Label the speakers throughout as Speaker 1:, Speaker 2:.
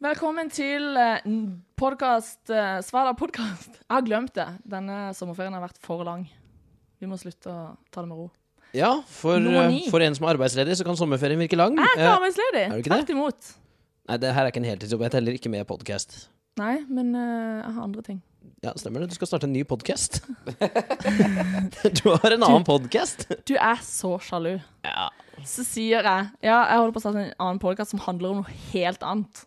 Speaker 1: Velkommen til eh, n- podcast, eh, Svada podkast. Jeg har glemt det. Denne sommerferien har vært for lang. Vi må slutte å ta det med ro.
Speaker 2: Ja, for,
Speaker 1: Nummer
Speaker 2: eh,
Speaker 1: ni.
Speaker 2: for en som er arbeidsledig, så kan sommerferien virke lang.
Speaker 1: Jeg er ikke
Speaker 2: Eh,
Speaker 1: arbeidsledig.
Speaker 2: er du ikke det?
Speaker 1: Tvert imot.
Speaker 2: Nei, det her er ikke en heltidsjobb. Jeg teller ikke med podkast.
Speaker 1: Nei, men eh, jeg har andre ting.
Speaker 2: Ja, stemmer det. Du skal starte en ny podkast. du har en annen podkast.
Speaker 1: Du er så sjalu.
Speaker 2: Ja.
Speaker 1: Så sier jeg Ja, jeg holder på å starte en annen podkast som handler om noe helt annet.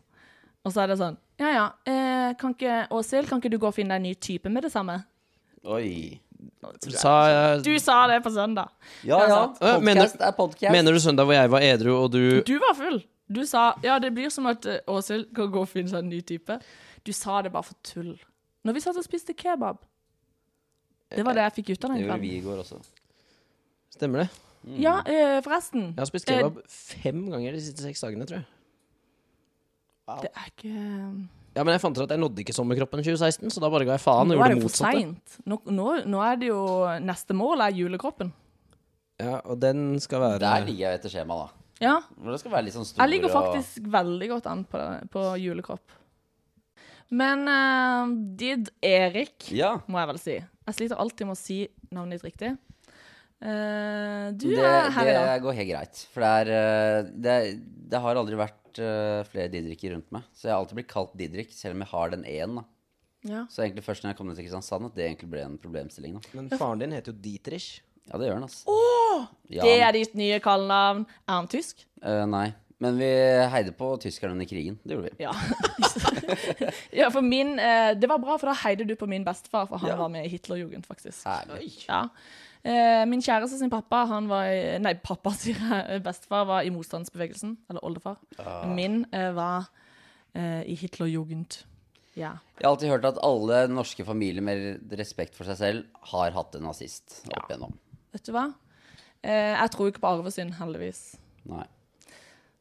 Speaker 1: Og så er det sånn Ja ja, eh, kan ikke Åshild, kan ikke du gå og finne deg en ny type med det samme?
Speaker 3: Oi.
Speaker 2: Sa jeg
Speaker 1: Du sa det på søndag.
Speaker 3: Ja,
Speaker 1: Ja,
Speaker 3: ja.
Speaker 1: sant.
Speaker 2: Øh,
Speaker 3: Podcast er podcast.
Speaker 2: Mener du søndag hvor jeg var edru, og du
Speaker 1: Du var full. Du sa ja, det blir som at eh, Åshild kan gå og finne seg en ny type. Du sa det bare for tull. Når vi satt og spiste kebab. Det var det jeg fikk ut av
Speaker 3: det
Speaker 1: den
Speaker 3: gjorde vi
Speaker 1: kvelden.
Speaker 3: i går også.
Speaker 2: Stemmer det?
Speaker 1: Ja, eh, forresten.
Speaker 2: Jeg har spist kebab fem ganger de siste seks dagene, tror jeg.
Speaker 1: Det er ikke eh,
Speaker 2: Ja, Men jeg fant ut at jeg nådde ikke sommerkroppen 2016, så da bare ga jeg faen og
Speaker 1: Nå er
Speaker 2: gjorde
Speaker 1: det
Speaker 2: det
Speaker 1: jo for
Speaker 2: motsatte.
Speaker 1: seint. Nå, nå, nå er det jo Neste mål er julekroppen.
Speaker 2: Ja, Og den skal være
Speaker 3: Der ligger jeg etter skjema, da.
Speaker 1: Ja.
Speaker 3: Men det skal være litt sånn stor
Speaker 1: Jeg ligger
Speaker 3: og-
Speaker 1: faktisk veldig godt an på, det, på julekropp. Men eh, Did Erik,
Speaker 3: Ja.
Speaker 1: må jeg vel si. Jeg sliter alltid med å si navnet ditt riktig. Eh, du
Speaker 3: Det,
Speaker 1: er her i dag.
Speaker 3: det går helt greit. For det er øh, Det, det har aldri vært øh, flere Didriker rundt meg. Så jeg har alltid blitt kalt Didrik, selv om jeg har den én. da.
Speaker 1: Ja.
Speaker 3: Så egentlig først når jeg kom ned til Kristiansand, at det egentlig ble en problemstilling. da.
Speaker 2: Men faren din heter jo Dietrich.
Speaker 3: Ja, det gjør den, altså. ja,
Speaker 1: Det er ditt nye kallenavn. Er han tysk?
Speaker 3: øh, Nei. Men vi heide på tyskerne under krigen. Det gjorde vi.
Speaker 1: Ja. ja, for min eh, Det var bra, for da heide du på min bestefar, for han
Speaker 3: Ja.
Speaker 1: var med i Hitlerjugend, faktisk.
Speaker 3: Herlig.
Speaker 1: Ja. Eh, min kjæreste sin pappa, han var i Nei, pappa, sier jeg. Bestefar var i motstandsbevegelsen. Eller oldefar.
Speaker 3: Ah.
Speaker 1: Min eh, var eh, i Hitlerjugend. Ja.
Speaker 3: Jeg har alltid hørt at alle norske familier med respekt for seg selv har hatt en nazist opp igjennom.
Speaker 1: Vet du hva? Eh, jeg tror ikke på arvesynd, heldigvis.
Speaker 3: Nei.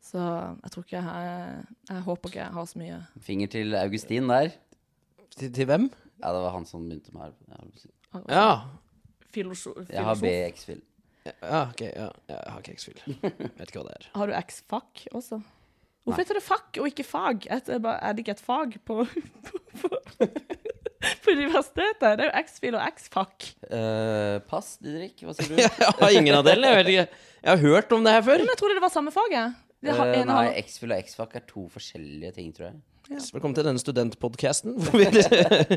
Speaker 1: Så jeg tror ikke jeg har- Jeg håper ikke jeg har så mye
Speaker 3: Finger til Augustin der.
Speaker 2: Til, til hvem?
Speaker 3: Ja, det var han som begynte med her.
Speaker 2: Ja.
Speaker 1: filosof.
Speaker 3: Jeg har
Speaker 1: filosof.
Speaker 3: BX-fil.
Speaker 2: ja, ok. Ja. Jeg har ikke X-fil. Vet ikke hva det er.
Speaker 1: Har du X-fac også? Hvorfor heter det fac og ikke fag? Et- Er bare- er det ikke et fag på, på, på, på universitetet? Det er jo X-fil og X-fac.
Speaker 3: Eh, pass, Didrik. Hva sier du?
Speaker 2: Jeg har ingen av delene. Jeg vet ikke. Jeg har hørt om det her før.
Speaker 1: Men jeg trodde det var samme fag, jeg. Det har-
Speaker 3: Eh,
Speaker 1: ene har-
Speaker 3: nei, X-fil og X-fac er to forskjellige ting, tror jeg.
Speaker 2: Velkommen til denne studentpodcasten. hvor vi-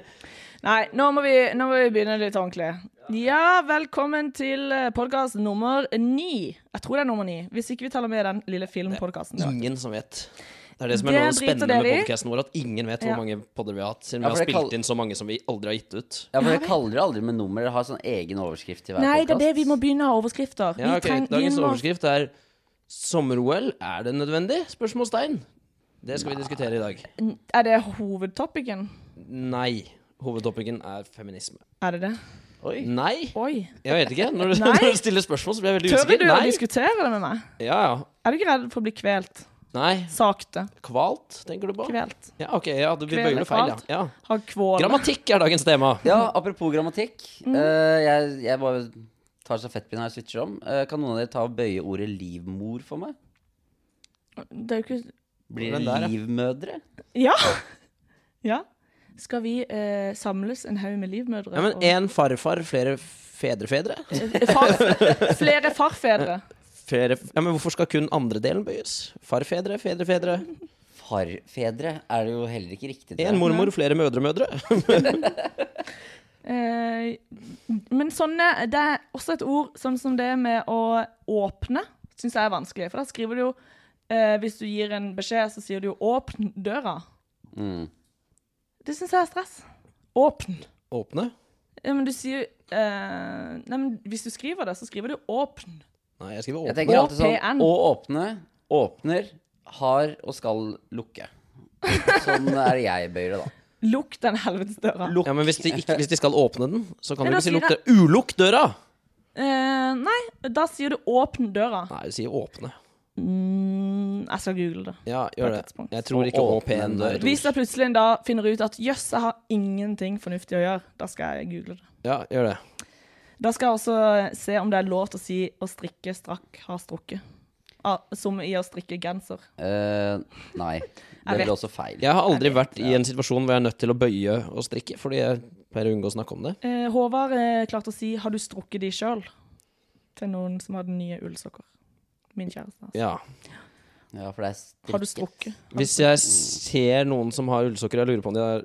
Speaker 1: Nei, nå må, vi, nå må vi begynne litt ordentlig. Ja, velkommen til podkast nummer ni. Jeg tror det er nummer ni, hvis ikke vi teller med den lille filmpodkasten. der.
Speaker 2: ingen som vet. Det er det som er
Speaker 1: Det
Speaker 2: noe av det
Speaker 1: driter
Speaker 2: spennende
Speaker 1: dere
Speaker 2: med
Speaker 1: i.
Speaker 2: podcasten vår, at ingen vet
Speaker 1: Ja.
Speaker 2: hvor mange podder vi har hatt, siden
Speaker 3: Ja,
Speaker 2: vi har
Speaker 3: for det
Speaker 2: spilt
Speaker 3: kall-
Speaker 2: inn så mange som vi aldri har gitt ut.
Speaker 3: Ja, for Dere kaller det aldri med nummer. Dere har sånn egen overskrift til hver
Speaker 1: Nei, det er
Speaker 3: podcast.
Speaker 1: det vi må begynne av overskrifter. Vi
Speaker 2: Ja, ok,
Speaker 1: treng- vi
Speaker 2: Dagens
Speaker 1: må-
Speaker 2: overskrift er 'Sommer-OL er det nødvendig?' Spørsmålstegn. Det skal vi diskutere i dag.
Speaker 1: Er det hovedtopicen?
Speaker 2: Nei. Hovedtopikken er feminisme.
Speaker 1: Er det det?
Speaker 3: Oi.
Speaker 2: Nei.
Speaker 1: Oi.
Speaker 2: Jeg vet ikke. Når du,
Speaker 1: Nei.
Speaker 2: når du stiller spørsmål, så blir jeg veldig
Speaker 1: Tør
Speaker 2: usikker.
Speaker 1: du å
Speaker 2: Nei.
Speaker 1: diskutere det med meg?
Speaker 2: Ja, ja.
Speaker 1: Er du ikke redd for å bli kvelt?
Speaker 2: Nei.
Speaker 1: Sakte.
Speaker 2: Kvalt, tenker du på?
Speaker 1: Kvelt.
Speaker 2: Ja, ok. Ja, du vi
Speaker 1: Kvele,
Speaker 2: bøyer det feil, ja.
Speaker 1: kvalt.
Speaker 2: ja.
Speaker 1: Har kvål.
Speaker 2: Grammatikk er dagens tema.
Speaker 3: Ja, apropos grammatikk.
Speaker 1: Mm.
Speaker 3: eh, jeg, jeg bare tar stafettpinnen her og switcher om. Eh, kan noen av dere ta og bøye ordet livmor for meg?
Speaker 1: Det er jo ikke
Speaker 3: Blir
Speaker 2: Den
Speaker 3: det
Speaker 2: der, ja.
Speaker 3: livmødre?
Speaker 1: Ja! ja. Skal vi eh, samles en haug med livmødre?
Speaker 2: Ja, men
Speaker 1: og- Eh,
Speaker 2: én farfar, flere fedrefedre?
Speaker 1: Far, flere farfedre.
Speaker 2: Flere, ja, men hvorfor skal kun andre delen bøyes? Farfedre, fedrefedre.
Speaker 3: Farfedre er det jo heller ikke riktig.
Speaker 2: Én mormor, flere mødremødre.
Speaker 1: Eh, men sånne Det er også et ord sånn som det med å åpne, syns jeg er vanskelig. For da skriver du jo eh, Hvis du gir en beskjed, så sier du jo 'åpn døra'.
Speaker 3: Mm.
Speaker 1: Det syns jeg er stress. Åpn.
Speaker 2: Åpne?
Speaker 1: Ja, men du sier eh, Nei, men hvis du skriver det, så skriver du 'åpn'.
Speaker 2: Nei, jeg skriver
Speaker 3: Jeg
Speaker 2: åpne.
Speaker 3: tenker alltid
Speaker 1: OPN.
Speaker 3: sånn å åpne, åpner, har og skal lukke. Sånn er jeg bøyer det, da.
Speaker 1: Lukk den helvetes døra.
Speaker 2: Ja, men hvis de, ikke, hvis de skal åpne den, så kan
Speaker 1: Men
Speaker 2: du
Speaker 1: da
Speaker 2: ikke si
Speaker 1: sier
Speaker 2: lukk døra. Ulukk døra!
Speaker 1: Eh, nei, da sier du 'åpn døra'.
Speaker 2: Nei, du sier åpne.
Speaker 1: Mm, jeg skal google det.
Speaker 2: Ja,
Speaker 1: På et
Speaker 2: gjør det.
Speaker 1: tidspunkt.
Speaker 2: Jeg tror ikke
Speaker 3: Å, åpne
Speaker 2: åpen
Speaker 3: en
Speaker 2: dør.
Speaker 3: dør.
Speaker 1: Hvis jeg plutselig en dag finner ut at 'jøss, jeg har ingenting fornuftig å gjøre', da skal jeg google det.
Speaker 2: Ja, gjør det.
Speaker 1: Da skal jeg også se om det er lov til å si 'å strikke strakk har strukket'. ah, som i å strikke genser.
Speaker 3: Eh, nei. Det
Speaker 1: vet.
Speaker 3: ble også feil.
Speaker 2: Jeg har aldri vært i en situasjon hvor jeg er nødt til å bøye og strikke, fordi jeg pleier å unngå å snakke om det.
Speaker 1: Eh, Håvard eh, klarte å si 'har du strukket de sjøl?' til noen som hadde nye ullsokker. Min kjæreste. Altså.
Speaker 2: Ja.
Speaker 3: Ja, for det er strikket.
Speaker 1: Har du strukket?
Speaker 2: Hvis jeg ser noen som har ullsokker, og jeg lurer på om de har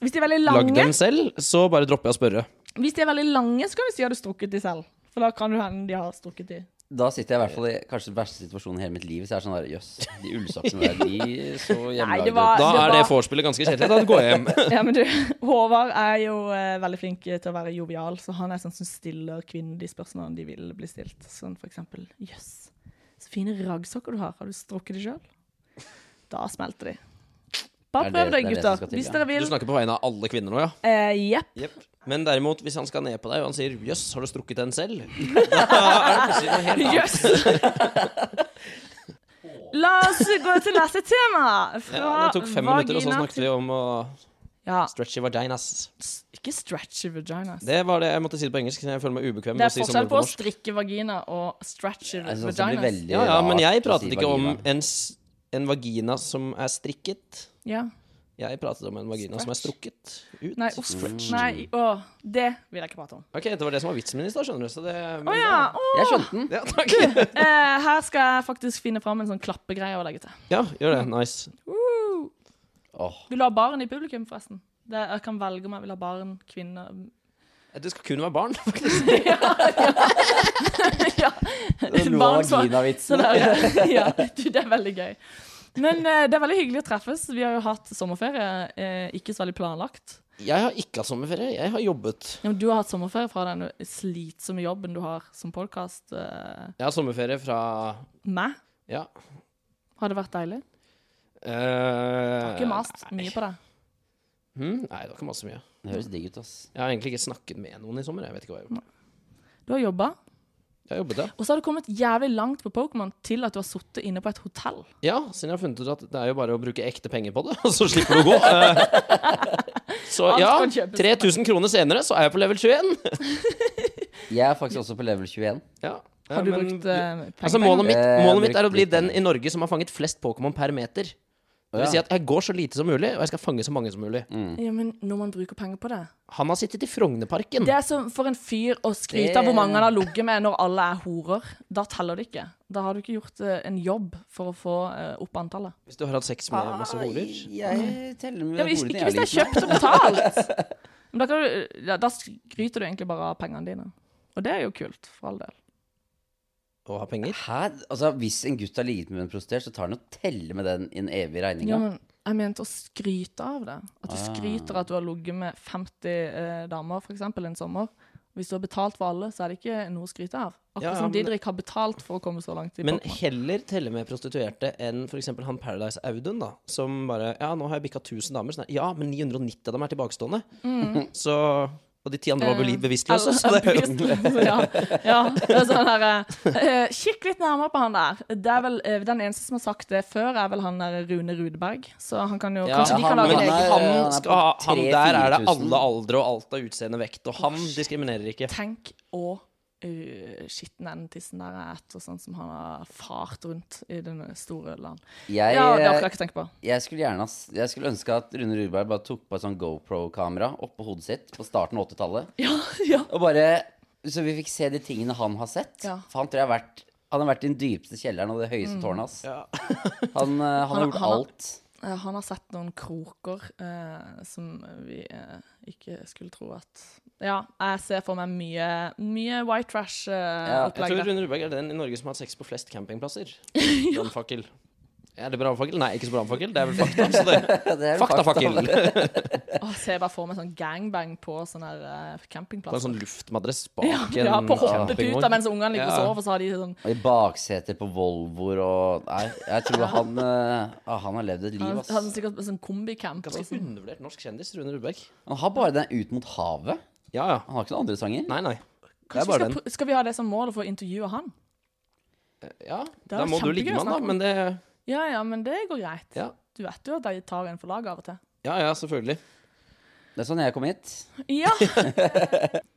Speaker 1: Hvis de er veldig
Speaker 2: lagd
Speaker 1: lange,
Speaker 2: dem selv, så bare dropper jeg å spørre.
Speaker 1: Hvis de er veldig lange, så kan vi si 'har du strukket de selv'? For da kan det hende de har strukket de.
Speaker 3: Da sitter jeg i hvert fall i kanskje den verste situasjonen i hele mitt liv. Så jeg er sånn der, jøss, de ullsokkene der, de så hjemmelagde ut.
Speaker 1: var-
Speaker 2: Da
Speaker 1: Det
Speaker 2: er det vorspielet ganske kjedelig. Da går jeg hjem.
Speaker 1: Ja, men du, Håvard er jo eh, veldig flink til å være jovial, så han er sånn som stiller kvinner de spørsmålene de vil bli stilt. Sånn for eksempel Jøss, så fine raggsokker du har. Har du strukket de sjøl? Da smelter de. Bare
Speaker 3: Er det-
Speaker 1: prøv
Speaker 3: det
Speaker 1: det,
Speaker 3: er det som
Speaker 1: gutter.
Speaker 3: skal til,
Speaker 1: Hvis
Speaker 3: ja.
Speaker 1: dere
Speaker 2: Du
Speaker 1: vil.
Speaker 2: snakker på vegne av alle kvinner nå, ja?
Speaker 1: Eh, Jepp.
Speaker 2: Men derimot, hvis han skal ned på deg, og han sier 'jøss, har du strukket den selv', da er det plutselig noe helt annet.
Speaker 1: Jøss! La oss gå til neste tema. Fra
Speaker 2: Ja, det tok fem
Speaker 1: vagina
Speaker 2: minutter, og så snakket vi om å
Speaker 1: til ja.
Speaker 2: stretchy vaginas.
Speaker 1: s- Ikke stretchy vaginas. Det,
Speaker 2: Det var det jeg måtte si det på engelsk. siden Jeg føler meg ubekvem med
Speaker 1: er
Speaker 2: å si som
Speaker 1: forskjell på
Speaker 2: ord på
Speaker 1: å
Speaker 2: norsk.
Speaker 1: strikke vagina og stretchy
Speaker 3: Jeg
Speaker 2: sånn
Speaker 3: synes også det blir
Speaker 1: vaginas.
Speaker 3: veldig
Speaker 2: Ja, ja, men jeg
Speaker 3: rart å
Speaker 2: pratet
Speaker 3: si
Speaker 2: ikke om
Speaker 3: vagina.
Speaker 2: en, s- en vagina som er strikket.
Speaker 1: Ja.
Speaker 2: Jeg pratet om en vagina som er strukket ut.
Speaker 1: Nei, uff. Nei, å, det vil jeg ikke prate om.
Speaker 2: Ok, Det var det som var vitsen min i stad, skjønner du. Så det,
Speaker 1: Å
Speaker 2: men,
Speaker 1: ja! Å,
Speaker 3: Jeg skjønte den.
Speaker 2: ja, takk.
Speaker 1: eh, her skal jeg faktisk finne fram en sånn klappegreie å legge til.
Speaker 2: ja, gjør det. Nice.
Speaker 1: Uh.
Speaker 3: Åh,
Speaker 1: Vil du ha barn i publikum, forresten? Det, jeg kan velge om jeg vil ha barn, kvinner
Speaker 2: Det skal kun være barn, faktisk.
Speaker 1: ja.
Speaker 3: lo av
Speaker 1: Barn som- Så
Speaker 3: vaginavitsen.
Speaker 1: det er, ja, du, det er veldig gøy. Men eh, det er veldig hyggelig å treffes. Vi har jo hatt sommerferie, eh, ikke så veldig planlagt.
Speaker 2: Jeg har ikke hatt sommerferie. Jeg har jobbet.
Speaker 1: Ja, men du har hatt sommerferie fra den slitsomme jobben du har som podkast. Eh,
Speaker 2: Jeg har sommerferie fra
Speaker 1: meg.
Speaker 2: Ja. eh,
Speaker 1: Har det vært deilig? Jeg har
Speaker 2: Ikke
Speaker 1: ikke mast mye på deg.
Speaker 2: Hmm? Nei, det var ikke masse mye.
Speaker 3: Det høres digg ut, ass.
Speaker 2: Jeg har egentlig ikke snakket med noen i sommer. Jeg vet ikke hva jeg har gjort.
Speaker 1: Du har jobba,
Speaker 2: Jeg har jobbet, ja.
Speaker 1: og så har du kommet jævlig langt på Pokémon til at du har sittet inne på et hotell.
Speaker 2: Ja, siden jeg har funnet ut at det er jo bare å bruke ekte penger på det, og så slipper du å gå. Eh, Så
Speaker 1: Alt
Speaker 2: ja,
Speaker 1: kan kjøpes.
Speaker 2: 3000 kroner senere så er jeg på level 21.
Speaker 3: Jeg er faktisk også på level 21.
Speaker 2: Ja.
Speaker 1: Har du
Speaker 2: Ja, men-
Speaker 1: brukt eh, penger?
Speaker 2: Altså, målet mitt,
Speaker 3: Eh,
Speaker 2: målet mitt
Speaker 3: brukt
Speaker 2: er å bli
Speaker 3: litt
Speaker 2: den
Speaker 3: penger.
Speaker 2: i Norge som har fanget flest Pokémon per meter. Det
Speaker 3: Å,
Speaker 2: vil si
Speaker 3: ja.
Speaker 2: at jeg går så lite som mulig, og jeg skal fange så mange som mulig.
Speaker 1: Ja, men når man bruker penger på det
Speaker 2: Han har sittet i Frognerparken.
Speaker 1: Det er som for en fyr å skryte av hvor mange han har ligget med når alle er horer. Da teller det ikke. Da har du ikke gjort eh, en jobb for å få eh, opp antallet.
Speaker 2: Hvis du har hatt sex med masse horer.
Speaker 3: Nei, Jeg teller med
Speaker 1: Ja, hvis,
Speaker 3: horene
Speaker 1: ikke hvis det er
Speaker 3: jeg har ligget med.
Speaker 1: kjøpt og betalt! Men da, kan du, ja, da skryter du egentlig bare av pengene dine. Og det er jo kult, for all del.
Speaker 2: Og har penger.
Speaker 3: Hæ? Altså, hvis en gutt har ligget med en prostituert, så tar han og teller med den i en evig regning.
Speaker 1: Ja, men
Speaker 3: da.
Speaker 1: jeg mente å skryte av det. At du
Speaker 2: Ah.
Speaker 1: skryter at du har ligget med 50 eh, damer, for eksempel, en sommer. Hvis du har betalt for alle, så er det ikke noe å skryte av. Akkurat
Speaker 2: Ja, ja,
Speaker 1: som
Speaker 2: men-
Speaker 1: Didrik har betalt for å komme så langt i
Speaker 2: Men
Speaker 1: Pokémon.
Speaker 2: heller telle med prostituerte enn f.eks. han Paradise Audun, da. Som bare Ja, nå har jeg bikka 1000 damer. Sånn, ja, men 990 av dem er tilbakestående.
Speaker 1: Mm.
Speaker 2: Så Og de ti andre
Speaker 1: Eh,
Speaker 2: var beli- bevisstløse. Så det er jo
Speaker 1: ja. ja. Det er sånn her eh, Kikk litt nærmere på han der. Det er vel eh, Den eneste som har sagt det før, er vel han der Rune Rudberg. Så han kan jo
Speaker 2: ja,
Speaker 1: Kanskje de kan
Speaker 2: han,
Speaker 1: lage en
Speaker 2: men
Speaker 3: er-
Speaker 1: egen
Speaker 2: han,
Speaker 3: han er på
Speaker 2: skal, ha- han der er det
Speaker 3: 3-4 000.
Speaker 2: alle aldre og alt av utseende vekt, og han diskriminerer ikke.
Speaker 1: Tenk å uh, skitne den tissen der er etter, sånn som han har fart rundt i den store land.
Speaker 3: Jeg,
Speaker 1: Ja, det orker jeg eh, ikke tenke på.
Speaker 3: jeg skulle gjerne ha s- Jeg skulle ønske at Rune Rudberg bare tok på et sånn GoPro-kamera oppå hodet sitt på starten av 80-tallet.
Speaker 1: Ja, ja.
Speaker 3: Og bare Så vi fikk se de tingene han har sett.
Speaker 1: Ja. Mm.
Speaker 3: For han tror jeg har vært Han har vært i den dypeste kjelleren og det høyeste tårnet hans.
Speaker 2: Ja.
Speaker 3: Han, eh, han har
Speaker 1: Han-
Speaker 3: gjort
Speaker 1: han-
Speaker 3: alt.
Speaker 1: Eh, Han har sett noen kroker eh, som vi eh, ikke skulle tro at Ja, jeg ser for meg mye, mye white
Speaker 3: Ja,
Speaker 2: Jeg
Speaker 1: trash-opplegg
Speaker 2: tror
Speaker 1: der.
Speaker 2: Rune Rudberg er den i Norge som har hatt sex på flest campingplasser. Brannfakkel. Er det brannfakkel? Nei, ikke så brannfakkel. Det er vel fakta. Så det,
Speaker 3: Ja, det er jo
Speaker 2: faktafakkel.
Speaker 3: fakta.
Speaker 1: Åh, ser jeg bare for meg sånn gangbang på sånn her eh,
Speaker 2: På en
Speaker 1: campingplass.
Speaker 2: sånn luftmadrass
Speaker 1: Ja,
Speaker 2: bak
Speaker 1: ja,
Speaker 2: en
Speaker 1: på hoppeputa
Speaker 2: campingvogn.
Speaker 1: mens ungene ligger og
Speaker 2: Ja.
Speaker 1: sover, så har de sånn
Speaker 3: Og i bakseter på Volvoer og Nei, jeg tror han eh, ah, Han har levd et liv,
Speaker 1: Han
Speaker 3: ass.
Speaker 1: hadde sikkert sånn kombicamp. og
Speaker 2: Ganske
Speaker 1: sånn.
Speaker 2: undervurdert norsk kjendis, Rune Rudberg.
Speaker 3: Han har bare den Ut mot havet.
Speaker 2: Ja, ja.
Speaker 3: Han har ikke noen andre sanger.
Speaker 2: Nei, nei. Det
Speaker 1: Kanskje
Speaker 2: er
Speaker 1: vi
Speaker 2: bare
Speaker 1: skal,
Speaker 2: den.
Speaker 1: pr- skal vi ha det som mål å få intervjue han?
Speaker 2: Ja,
Speaker 1: Det
Speaker 2: da
Speaker 1: var
Speaker 2: må du
Speaker 1: kjempegøy
Speaker 2: ligge
Speaker 1: å
Speaker 2: med han, da.
Speaker 1: snakke om.
Speaker 2: Men det
Speaker 1: Ja ja, men det går greit.
Speaker 2: Ja,
Speaker 1: Du vet jo at de tar en for laget av og til.
Speaker 2: ja, ja selvfølgelig.
Speaker 3: Det er sånn jeg kom hit.
Speaker 1: Ja.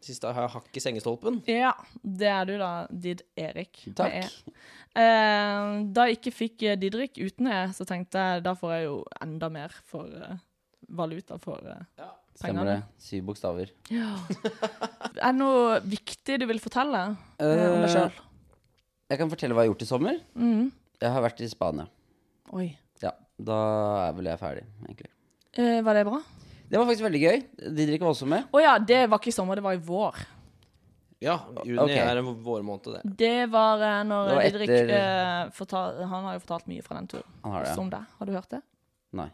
Speaker 2: Siste har jeg hakk i sengestolpen.
Speaker 1: ja. Det er du da, Did Erik. med
Speaker 3: Takk.
Speaker 1: E. Eh, da jeg ikke fikk eh, Didrik uten E, så tenkte jeg da får jeg jo enda mer for eh, valuta for eh,
Speaker 3: Stemmer det. Syv bokstaver.
Speaker 1: Ja. Er det noe viktig du vil fortelle eh, om deg
Speaker 3: Eh,
Speaker 1: sjøl?
Speaker 3: jeg kan fortelle hva jeg har gjort i sommer.
Speaker 1: Mm.
Speaker 3: Jeg har vært i Spania.
Speaker 1: Oi.
Speaker 3: Ja, da er vel jeg ferdig, egentlig.
Speaker 1: Eh, var det bra?
Speaker 3: Det var faktisk veldig gøy. Didrik var også med.
Speaker 1: Å ja, det var ikke i sommer, det var i vår.
Speaker 2: Ja, juni
Speaker 3: Ok.
Speaker 2: er en vårmåned, det.
Speaker 1: Det var eh, når
Speaker 3: Det var
Speaker 1: Didrik
Speaker 3: etter-
Speaker 1: eh, fortal, Han har jo fortalt mye fra den turen
Speaker 3: Han har det.
Speaker 1: som deg. Har du hørt det?
Speaker 3: Nei.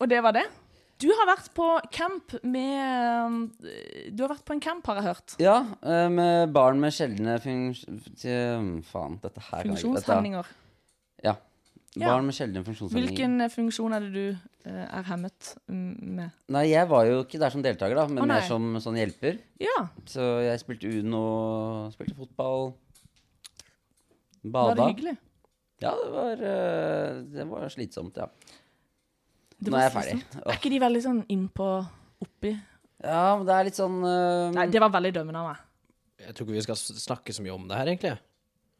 Speaker 1: Og det var det. Du har vært på camp med eh, Du har vært på en camp, har jeg hørt.
Speaker 3: Ja, eh, med barn med sjeldne funks... til- Faen, dette her kan jeg ikke dette-
Speaker 1: Funksjonshemninger.
Speaker 3: Ja.
Speaker 1: Ja.
Speaker 3: Barn med sjeldne funksjonshemninger.
Speaker 1: Hvilken eh, funksjon er det du eh, er hemmet mm, med?
Speaker 3: Nei, jeg var jo ikke der som deltaker, da, men
Speaker 1: Å, nei.
Speaker 3: mer som sånn hjelper.
Speaker 1: Ja.
Speaker 3: Så jeg spilte Uno, spilte fotball,
Speaker 1: Var det
Speaker 3: bada.
Speaker 1: hyggelig?
Speaker 3: Ja, det var, eh, det var slitsomt, ja.
Speaker 1: Det
Speaker 3: Nå
Speaker 1: var
Speaker 3: er jeg
Speaker 1: slitsomt.
Speaker 3: ferdig. Åh.
Speaker 1: Er ikke de veldig sånn innpå oppi?
Speaker 3: Ja, men det er litt sånn eh,
Speaker 1: Nei, det var veldig dømmende av meg.
Speaker 2: Jeg tror ikke vi skal s- snakke så mye om det her, egentlig.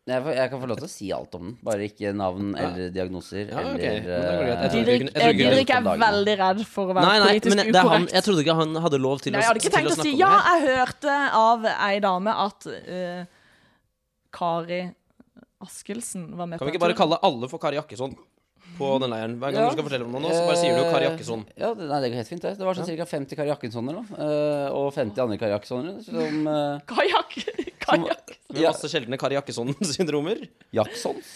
Speaker 3: jeg, får- jeg kan få lov til å si alt om den, bare ikke navn eller diagnoser.
Speaker 2: Ja, ok. Men
Speaker 3: eller,
Speaker 2: da går det greit. Jeg
Speaker 3: eh,
Speaker 2: trodde
Speaker 1: Didrik,
Speaker 2: ikke- jeg trodde ikke-
Speaker 1: Didrik er
Speaker 3: om dagen.
Speaker 1: veldig redd for å være
Speaker 2: Nei, nei,
Speaker 1: politisk
Speaker 2: men det er han,
Speaker 1: ukorrekt.
Speaker 2: jeg trodde ikke han hadde lov til,
Speaker 1: Nei,
Speaker 2: å,
Speaker 1: jeg hadde ikke
Speaker 2: til
Speaker 1: tenkt
Speaker 2: å
Speaker 1: å si
Speaker 2: snakke
Speaker 1: ja.
Speaker 2: om det. her.
Speaker 1: Jeg hørte av ei dame at eh, Kari Askelsen var med
Speaker 2: Kan vi ikke
Speaker 1: den
Speaker 2: bare
Speaker 1: turen.
Speaker 2: kalle alle for Kari Jakkesson på den leiren? Hver gang
Speaker 3: Ja.
Speaker 2: du skal fortelle om noe, nå, så bare sier du Kari Jakkesson.
Speaker 3: Eh, Ja, det, nei, det går helt fint. Det, det var sånn ca. 50 Kari Jakkessoner, da. eh, og 50 andre Kari Jakkessoner. Som eh,
Speaker 1: Kajakk! Kajakk.
Speaker 2: Med
Speaker 3: Ja.
Speaker 2: masse sjeldne Kari Jakkesson-syndromer.
Speaker 3: Jacksons.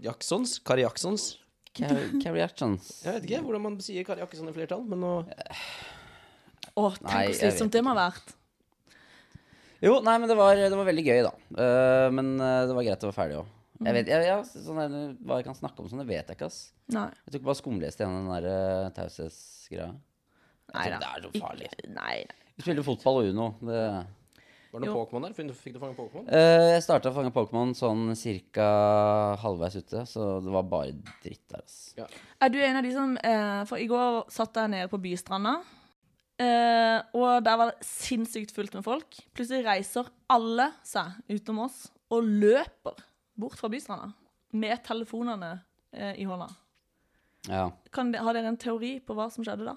Speaker 2: Jacksons? Kari Jacksons?
Speaker 3: Kari Kari Jacksons.
Speaker 2: Jeg vet ikke hvordan man sier Kari Jakkesson i flertall, men nå
Speaker 1: Å, tenk hvor
Speaker 3: Nei, jeg vet
Speaker 1: slitsomt det må ha vært.
Speaker 3: Jo, nei, men det var, det var veldig gøy, da. Eh, men eh, det var greit å være ferdig òg.
Speaker 2: Mm.
Speaker 3: Jeg vet, jeg, jeg, sånn der, hva jeg kan snakke om sånn, det vet jeg ikke, ass.
Speaker 1: Nei.
Speaker 3: Jeg tok bare skumleste igjen den der eh, taushetsgreia.
Speaker 1: Nei
Speaker 3: Så
Speaker 1: da.
Speaker 3: Det er så farlig.
Speaker 1: Ikke- Nei, nei.
Speaker 3: Vi spilte fotball og Uno. Det.
Speaker 2: Var det noe
Speaker 1: Jo.
Speaker 2: Pokémon der? Fikk du- Fikk du fange Pokémon?
Speaker 3: Eh, jeg starta å fange Pokémon sånn cirka halvveis ute, så det var bare dritt der, ass.
Speaker 1: Er du en av de som eh, For i går satt jeg nede på Bystranda. eh, og der var det sinnssykt fullt med folk. Plutselig reiser alle seg utenom oss og løper bort fra Bystranda med telefonene eh, i hånda.
Speaker 3: Ja.
Speaker 1: Kan de, har dere en teori på hva som skjedde da?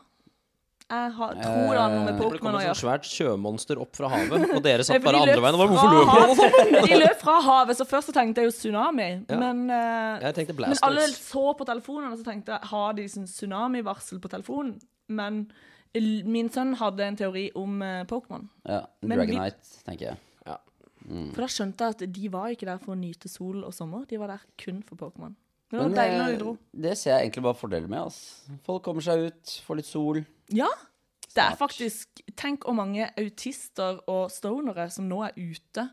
Speaker 1: Jeg har, tror det har noe med
Speaker 2: For Eh, Det kom
Speaker 1: Pokémon å
Speaker 2: et sånt
Speaker 1: gjøre.
Speaker 2: sånn svært sjømonster opp fra havet, og dere satt
Speaker 1: Nei, for
Speaker 2: bare
Speaker 1: de
Speaker 2: andre
Speaker 1: løp
Speaker 2: veien. Og bare,
Speaker 1: fra
Speaker 2: hvorfor løper dere?
Speaker 1: havet. De løp fra havet, så først så tenkte jeg jo tsunami. Men, eh,
Speaker 2: Jeg tenkte
Speaker 1: men alle
Speaker 2: Blastoise.
Speaker 1: så på telefonen og så tenkte jeg, har de sånn tsunamivarsel på telefonen? Men l- min sønn hadde en teori om eh, Pokémon.
Speaker 3: ja.
Speaker 1: Men
Speaker 3: Dragonite, tenker jeg.
Speaker 1: For da skjønte jeg at de var ikke der for å nyte sol og sommer, de var der kun for Pokémon. Men Det var
Speaker 3: Men,
Speaker 1: deilig når de
Speaker 3: eh,
Speaker 1: dro.
Speaker 3: det ser jeg egentlig bare fordeler med, ass. Folk kommer seg ut, får litt sol.
Speaker 1: Ja. Det er
Speaker 3: Snart.
Speaker 1: faktisk Tenk hvor mange autister og stonere som nå er ute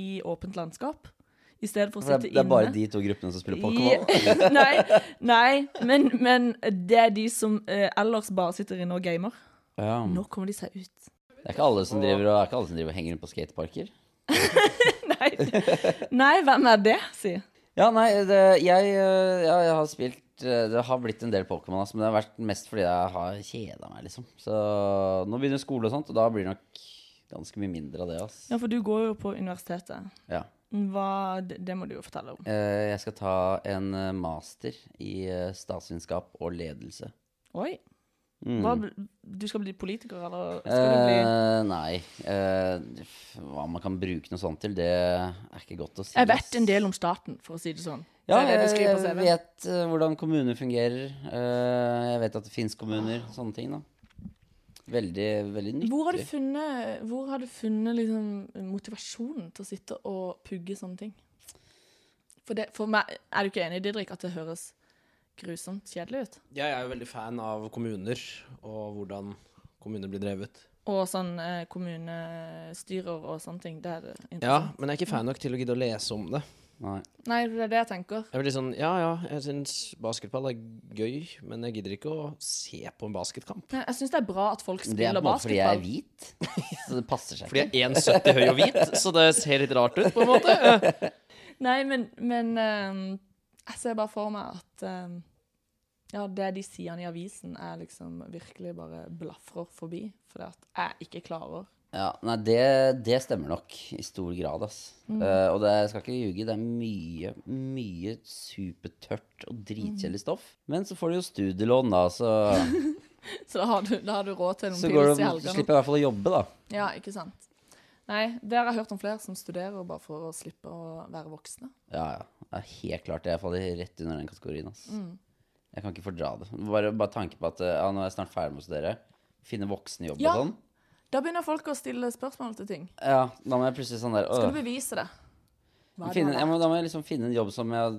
Speaker 1: i åpent landskap. I stedet for å
Speaker 3: For
Speaker 1: sitte
Speaker 3: det, det er bare
Speaker 1: inne.
Speaker 3: de to gruppene som spiller Pokémon.
Speaker 1: I- nei, nei men, men det er de som eh, ellers bare sitter inne og gamer.
Speaker 3: Ja.
Speaker 1: Nå kommer de seg ut.
Speaker 3: Det er ikke alle som driver og, det er ikke alle som driver og henger rundt på skateparker.
Speaker 1: Nei, nei hvem er det, si?
Speaker 3: Ja, nei, det, jeg, øh, ja, jeg har spilt øh, Det har blitt en del Pokémon, ass, men det har vært mest fordi jeg har kjeda meg, liksom. Så nå begynner skole og sånt, og da blir det nok ganske mye mindre av det, ass.
Speaker 1: Ja, for du går jo på universitetet.
Speaker 3: Ja.
Speaker 1: Hva, det, det må du jo fortelle om.
Speaker 3: Eh, Jeg skal ta en eh, master i eh, statsvitenskap og ledelse.
Speaker 1: Oi. Hva, bl- du skal bli politiker, eller skal du bli
Speaker 3: Mm. Eh, nei. eh, f- hva man kan bruke noe sånt til, det er ikke godt å si.
Speaker 1: Jeg vet
Speaker 3: ass.
Speaker 1: en del om staten, for å si det sånn.
Speaker 3: Ja,
Speaker 1: det er det du
Speaker 3: jeg,
Speaker 1: skriver på
Speaker 3: jeg
Speaker 1: CV-en.
Speaker 3: vet eh, hvordan kommuner fungerer. Eh, jeg vet at det fins kommuner. Sånne ting, da. Veldig, veldig nyttig.
Speaker 1: Hvor har du funnet, hvor har du funnet liksom, motivasjonen til å sitte og pugge sånne ting? For, det, for meg, Er du ikke enig, Didrik, at det høres grusomt kjedelig ut?
Speaker 2: Jeg er jo veldig fan av kommuner, og hvordan kommuner blir drevet.
Speaker 1: Og sånn eh, kommunestyrer og sånne ting. Det er
Speaker 2: Ja,
Speaker 1: interessant.
Speaker 2: men jeg er ikke fan nok til å gidde å lese om det.
Speaker 3: Nei.
Speaker 1: Nei, det er det jeg tenker.
Speaker 2: Jeg blir litt sånn, ja ja, jeg syns basketball er gøy, men jeg gidder ikke å se på en basketkamp.
Speaker 1: Men jeg syns det er bra at folk
Speaker 3: Det er på
Speaker 1: spiller
Speaker 3: en måte fordi jeg er
Speaker 1: basketball.
Speaker 3: hvit. Så det passer seg
Speaker 2: Fordi
Speaker 3: ikke.
Speaker 2: jeg er 1,70 høy og hvit, så det ser litt rart ut, på en måte.
Speaker 1: Nei, men, men eh, jeg ser bare for meg at eh, Ja, det de sier i avisen, er liksom virkelig bare blafrer forbi. Fordi at jeg ikke klarer.
Speaker 3: Ja, nei, det, det stemmer nok i stor grad, ass.
Speaker 1: Mm.
Speaker 3: Eh, og det, jeg skal ikke ljuge, det er mye, mye supertørt og
Speaker 1: Mm.
Speaker 3: dritkjedelig stoff. Men så får du jo studielån, da, så,
Speaker 1: Så da har du, da har du råd til
Speaker 3: så
Speaker 1: noen
Speaker 3: går
Speaker 1: pils
Speaker 3: det,
Speaker 1: i
Speaker 3: så
Speaker 1: helgene.
Speaker 3: slipper jeg i hvert fall å jobbe, da.
Speaker 1: Ja, ikke sant. Nei, det har jeg hørt om flere som studerer bare for å slippe å være voksne.
Speaker 3: Ja, ja. ja helt klart. Jeg faller rett under den kategorien, ass.
Speaker 1: Mm.
Speaker 3: Jeg kan ikke fordra det. Bare, bare tanke på at eh, ja, nå er jeg snart ferdig med å studere. Finne voksen jobb
Speaker 1: Ja.
Speaker 3: og sånn.
Speaker 1: Da begynner folk å stille spørsmål til ting.
Speaker 3: Ja, da må jeg plutselig sånn der
Speaker 1: Skal
Speaker 3: «Åh».
Speaker 1: du bevise det? Hva er det
Speaker 3: finne,
Speaker 1: du har
Speaker 3: jeg må, Da må jeg liksom finne en jobb som jeg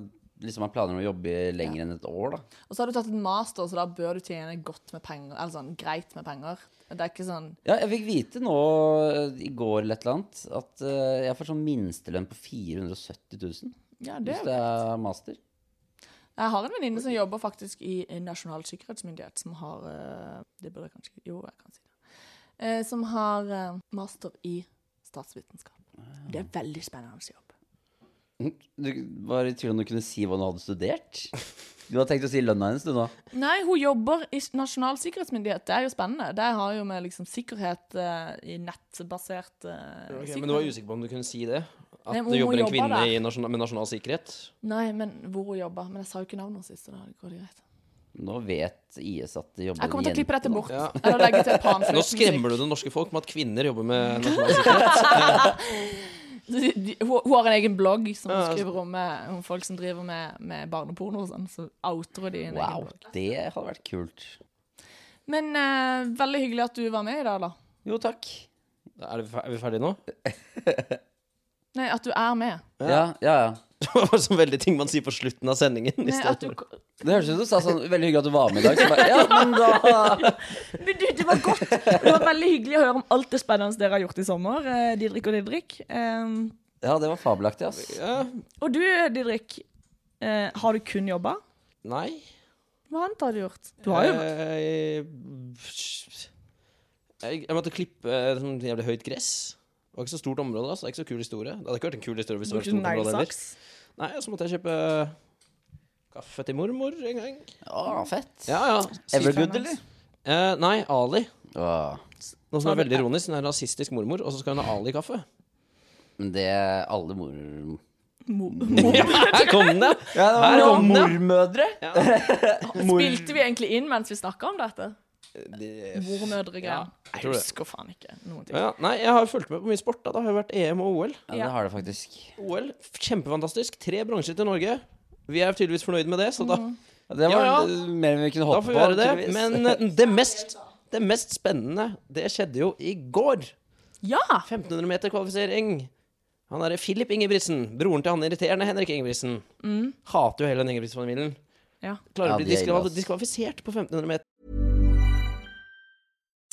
Speaker 3: liksom har planer om å jobbe i lenger enn et år, da.
Speaker 1: Og så har du tatt en master, så da bør du tjene godt med penger. Eller sånn greit med penger. Det er ikke sånn
Speaker 3: Ja, jeg fikk vite nå eh, i går eller et eller annet at eh, jeg får sånn minstelønn på 470 000
Speaker 1: Ja, det
Speaker 3: hvis
Speaker 1: er
Speaker 3: det er master.
Speaker 1: Jeg har en venninne som jobber faktisk i eh, Nasjonal sikkerhetsmyndighet, som har eh, Det burde jeg kanskje ikke Jo, jeg kan si det. Eh, Som har eh, master i statsvitenskap.
Speaker 2: Ah.
Speaker 1: Det er veldig spennende jobb.
Speaker 3: Du var i tvil om du kunne si hva du hadde studert. Du hadde tenkt å si lønna hennes, du nå.
Speaker 1: Nei, hun jobber i Nasjonal sikkerhetsmyndighet. Det er jo spennende. Det har jo med liksom sikkerhet eh, i nettbasert eh,
Speaker 2: Ok,
Speaker 1: sikkerhet
Speaker 2: men du var usikker på om du kunne si det? At
Speaker 1: Nei, om
Speaker 2: du
Speaker 1: hun
Speaker 2: jobber en
Speaker 1: jobber
Speaker 2: kvinne
Speaker 1: der.
Speaker 2: i nasjonal, med nasjonal sikkerhet?
Speaker 1: Nei, men hvor hun jobber. Men jeg sa jo ikke navnet hennes sist, så da går det greit.
Speaker 3: Nå vet IS at det jobber
Speaker 1: Jeg kommer til å klippe dette bort.
Speaker 2: Ja.
Speaker 1: Eller legge til
Speaker 2: Nå skremmer du det norske folk med at kvinner jobber med nasjonal sikkerhet.
Speaker 1: De- de- Hun hun har en egen blogg som
Speaker 2: Ja,
Speaker 1: hun
Speaker 2: altså.
Speaker 1: skriver om, eh, om folk som driver med, med barneporno og sånn. Så outer hun de i en egen
Speaker 3: Wow,
Speaker 1: blogg.
Speaker 3: det hadde vært kult.
Speaker 1: Men eh, veldig hyggelig at du var med i dag, da.
Speaker 3: Jo, takk.
Speaker 2: Er, det, fer- er vi ferdige nå?
Speaker 1: Nei, at du er med.
Speaker 3: Ja, ja, ja.
Speaker 2: Det var sånn veldig ting man sier på slutten av sendingen. i
Speaker 1: Nei,
Speaker 2: stedet
Speaker 1: at du,
Speaker 2: for-
Speaker 3: Det høres ut som du sa sånn Veldig hyggelig at du var med i dag. Så bare, ja, men da
Speaker 1: men du, det var godt! Det var veldig hyggelig å høre om alt det spennende dere har gjort i sommer. eh, Didrik og Didrik. Eh,
Speaker 3: Ja, det var fabelaktig, ass.
Speaker 2: Ja,
Speaker 1: og du, Didrik. eh, har du kun jobba?
Speaker 2: nei.
Speaker 1: Hva annet har du gjort? Du har jo
Speaker 2: Eh, Jeg, jeg måtte klippe eh, sånn jævlig høyt gress. Det var ikke så stort område. Altså. Det er ikke så kul historie. Det hadde ikke vært en kul historie hvis det var et
Speaker 1: brukt
Speaker 2: stort område heller.
Speaker 1: neglesaks.
Speaker 2: Nei, så måtte jeg kjøpe kaffe til mormor en gang.
Speaker 3: Å, fett.
Speaker 2: Ja, ja.
Speaker 3: Evergood, eller?
Speaker 2: Eh, nei, Ali.
Speaker 3: Åh,
Speaker 2: Noe
Speaker 1: Så
Speaker 2: som er
Speaker 1: er det-
Speaker 2: veldig ironisk. Hun er rasistisk mormor, og så skal hun ha Ali-kaffe.
Speaker 3: men det Alle mor...
Speaker 1: Mo-
Speaker 2: Ja, her kom den, ja!
Speaker 3: Ja, det
Speaker 2: Her
Speaker 3: noen
Speaker 2: kom den.
Speaker 3: mormødre.
Speaker 1: Spilte vi egentlig inn mens vi snakka om dette?
Speaker 2: Eh, Ja,
Speaker 1: Mormødregreier.
Speaker 2: jeg
Speaker 1: jeg
Speaker 2: tror det.
Speaker 1: husker faen ikke noen ting.
Speaker 2: Ja, ja. Nei, jeg har fulgt med på mye sport. Da. Det har jo vært EM og OL.
Speaker 3: Ja, det har det faktisk.
Speaker 2: OL, Kjempefantastisk. Tre bronser til Norge. Vi er tydeligvis fornøyd med det, så da,
Speaker 3: Ja, det var
Speaker 2: Ja, ja.
Speaker 3: eh, mer enn vi kunne
Speaker 2: da
Speaker 3: håpe
Speaker 2: får
Speaker 3: på.
Speaker 2: vi gjøre det.
Speaker 3: Mm. tydeligvis.
Speaker 2: Men eh, det mest, det mest spennende, det skjedde jo i går.
Speaker 1: Ja!
Speaker 2: 1500 meter kvalifisering. Han derre Philip Ingebrigtsen, broren til han irriterende Henrik Ingebrigtsen, hater jo hele den Ingebrigtsen-familien.
Speaker 1: Ja.
Speaker 2: Klarer å
Speaker 3: Mm. Ja,
Speaker 2: bli
Speaker 3: de er ille,
Speaker 2: diskval
Speaker 3: ass.
Speaker 2: diskvalifisert på 1500 meter.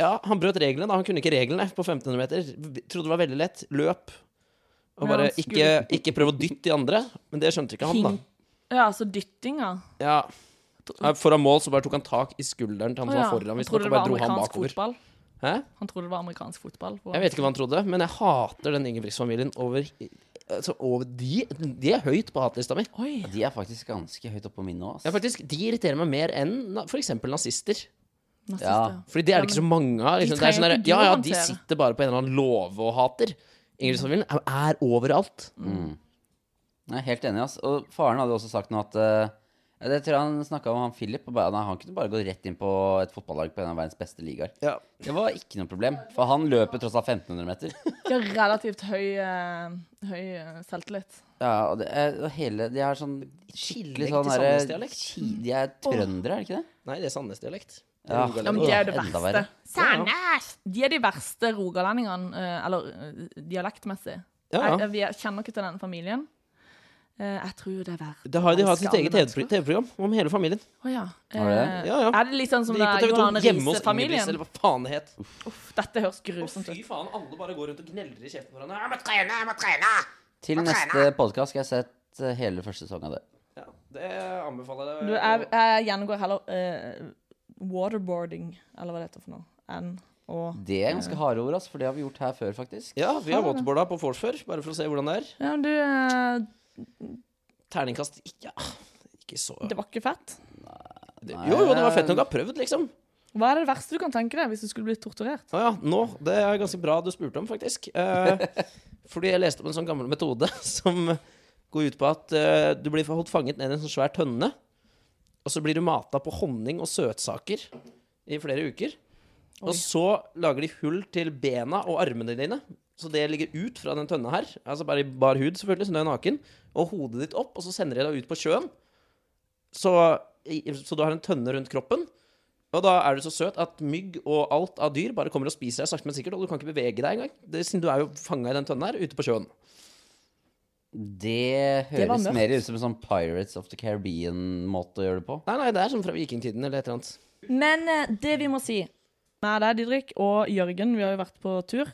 Speaker 2: Ja, han brøt reglene, da. Han kunne ikke reglene på 1500 meter. V- Trodde det var veldig lett. Løp. Og
Speaker 1: Ja,
Speaker 2: bare
Speaker 1: han
Speaker 2: ikke,
Speaker 1: skulle-
Speaker 2: ikke prøv å dytte de andre. Men det skjønte ikke han,
Speaker 1: Hink.
Speaker 2: da.
Speaker 1: Ja, altså dyttinga.
Speaker 2: Ja. Ja, Foran mål så bare tok han tak i skulderen til han
Speaker 1: Å
Speaker 2: som
Speaker 1: ja.
Speaker 2: var foran.
Speaker 1: Han
Speaker 2: Hvis
Speaker 1: trodde det
Speaker 2: han
Speaker 1: var
Speaker 2: bare dro han
Speaker 1: amerikansk
Speaker 2: bakover.
Speaker 1: fotball.
Speaker 2: Hæ?
Speaker 1: Han trodde det var amerikansk fotball.
Speaker 2: Jeg vet ikke hva han trodde, men jeg hater den Ingebrigtsen-familien over, altså, over de, de er høyt på hatlista mi.
Speaker 1: Oi.
Speaker 3: De er faktisk ganske høyt oppe på min nå.
Speaker 2: Ja,
Speaker 3: Ass.
Speaker 2: faktisk, de irriterer meg mer enn na- for eksempel nazister.
Speaker 1: Nazister.
Speaker 3: Ja.
Speaker 2: Fordi det er det ikke så mange av. Liksom. Det er sånn
Speaker 1: trenger
Speaker 2: der,
Speaker 1: ikke du
Speaker 2: ja, ja,
Speaker 1: å
Speaker 2: de
Speaker 1: håndtere.
Speaker 2: sitter bare på en eller annen låve og hater. Ingebrigtsen-familien er- er overalt.
Speaker 1: Mm.
Speaker 3: Jeg er helt enig. ass Og faren hadde også sagt noe at eh, Ja, Det tror jeg han snakka om han Philip. Og bare, nei, han kunne bare gå rett inn på et fotballag på en av verdens beste ligaer.
Speaker 2: Ja.
Speaker 3: Det var ikke noe problem, for han løper tross alt 1500 meter.
Speaker 1: De har relativt høy, eh, høy eh, selvtillit.
Speaker 3: Ja, og, det er, og hele De er sånn skikkelig
Speaker 2: Tillegg
Speaker 3: sånn
Speaker 2: til
Speaker 3: derre
Speaker 2: Sandnes-dialekt.
Speaker 3: ki- De er trøndere, er det ikke det?
Speaker 2: Nei, det er Sandnes-dialekt.
Speaker 3: Ja.
Speaker 1: Ja, men de er jo det
Speaker 3: Åh, enda verre.
Speaker 1: verste. Sandnes! De er de verste rogalendingene, eh, eller eh, dialektmessig.
Speaker 2: Ja, ja.
Speaker 1: Jeg, vi er- kjenner ikke til den familien. Eh, Jeg tror det er verre.
Speaker 2: Det har de hatt sitt
Speaker 1: Skadde
Speaker 2: eget
Speaker 1: mennesker.
Speaker 2: TV-program om hele familien.
Speaker 1: Å ja.
Speaker 3: Har de det?
Speaker 1: Eh,
Speaker 2: Ja, ja.
Speaker 1: Er det litt sånn som
Speaker 2: Det
Speaker 1: det
Speaker 2: gikk på
Speaker 1: er
Speaker 2: TV2
Speaker 1: Johan
Speaker 2: hjemme hos Ingebrigtsen,
Speaker 1: Riise-familien?
Speaker 2: eller hva faen det het.
Speaker 1: Uff, dette høres
Speaker 2: Å,
Speaker 1: grusomt
Speaker 2: fy
Speaker 1: ut.
Speaker 2: faen, alle bare går rundt og gneller i kjeften på hverandre. Ja, men
Speaker 3: Til neste podkast skal jeg sett eh, hele første sesong av det.
Speaker 2: Ja, det anbefaler jeg
Speaker 1: Du,
Speaker 2: deg.
Speaker 1: jeg, jeg gjennomgår heller eh, waterboarding, eller hva det heter for noe, enn å
Speaker 3: Det er ganske harde ord, altså, for det har vi gjort her før, faktisk.
Speaker 2: Ja, vi har
Speaker 1: Ah.
Speaker 2: waterboarda på vors før, bare for å se hvordan det er.
Speaker 1: Ja, men du, eh,
Speaker 2: Terningkast ikke ah, Ikke så
Speaker 1: det var ikke fett.
Speaker 2: Det- Jo, jo, det var fett nok å ha prøvd, liksom.
Speaker 1: Hva er det verste du kan tenke deg hvis du skulle bli torturert?
Speaker 2: Å ja, nå. Det er ganske bra du spurte om, faktisk. Eh, fordi jeg leste om en sånn gammel metode som går ut på at eh, du blir holdt fanget ned i en sånn svær tønne, og så blir du mata på honning og søtsaker i flere uker. Og så lager de hull til bena og armene dine, så det ligger ut fra den tønna her. Altså bare i bar hud, selvfølgelig, så du er naken. Og hodet ditt opp, og så sender de deg ut på sjøen. Så, i- så du har en tønne rundt kroppen. Og da er du så søt at mygg og alt av dyr bare kommer og spiser deg sakte, men sikkert, og du kan ikke bevege deg engang. Det- Siden du er jo fanga i den tønna her, ute på sjøen.
Speaker 3: Det
Speaker 1: Det var
Speaker 3: høres
Speaker 1: mørkt.
Speaker 3: mer ut som en sånn Pirates of the Caribbean-måte å gjøre det på.
Speaker 2: Nei, nei, det er sånn fra vikingtiden eller et eller annet.
Speaker 1: Men eh, det vi må si med deg, Didrik, og Jørgen, vi har jo vært på tur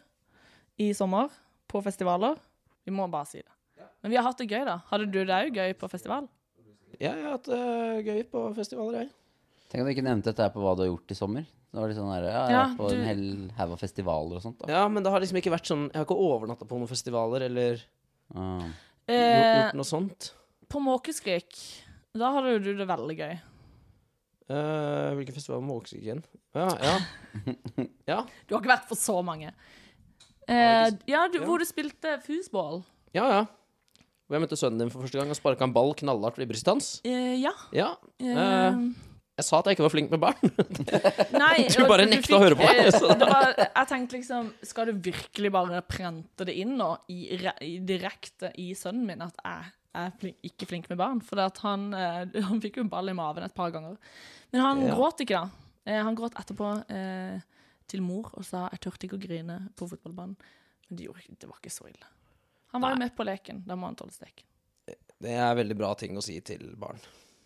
Speaker 1: i sommer, på festivaler. Vi må bare si det. Men vi har hatt det gøy, da. Hadde du det òg gøy på festival?
Speaker 2: Ja, jeg har hatt det gøy på festivaler, jeg.
Speaker 3: Tenk at du ikke nevnte dette her på hva du har gjort i sommer. Det var litt sånn der, ja, jeg har
Speaker 1: Ja,
Speaker 3: vært på
Speaker 1: du-
Speaker 3: en hel haug av festivaler og sånt. da.
Speaker 2: Ja, men det har liksom ikke vært sånn Jeg har ikke overnatta på noen festivaler eller
Speaker 3: Ah.
Speaker 2: no-
Speaker 1: Eh,
Speaker 2: gjort noe sånt.
Speaker 1: på Måkeskrik, da hadde jo du det veldig gøy.
Speaker 2: Eh, hvilken festival må Åksvik igjen? Ja, ja. Ja,
Speaker 1: Du har ikke vært på så mange. Eh,
Speaker 2: Har jeg
Speaker 1: ja, du,
Speaker 2: ja.
Speaker 1: hvor du spilte foosball.
Speaker 2: ja. ja. Hvor jeg møtte sønnen din for første gang og sparka en ball knallhardt i brystet hans.
Speaker 1: Eh, ja.
Speaker 2: Ja.
Speaker 1: Eh,
Speaker 2: Eh, jeg sa at jeg ikke var flink med barn.
Speaker 1: nei,
Speaker 2: Du
Speaker 1: og
Speaker 2: bare nekta å høre på meg,
Speaker 1: eh,
Speaker 2: så
Speaker 1: det var, jeg tenkte liksom Skal du virkelig bare prente det inn nå, i, re- i, direkte i sønnen min, at jeg er flink, ikke flink med barn? For at han, eh, han fikk jo en ball i maven et par ganger. Men han
Speaker 2: Ja.
Speaker 1: gråt ikke, da. Eh, han gråt etterpå eh, til mor og sa 'jeg turte ikke å grine på fotballbanen'. Men det, gjorde, ikke- det var ikke så ille. Han var jo med på leken. Da må han tåle steken.
Speaker 2: Det er veldig bra ting å si til barn.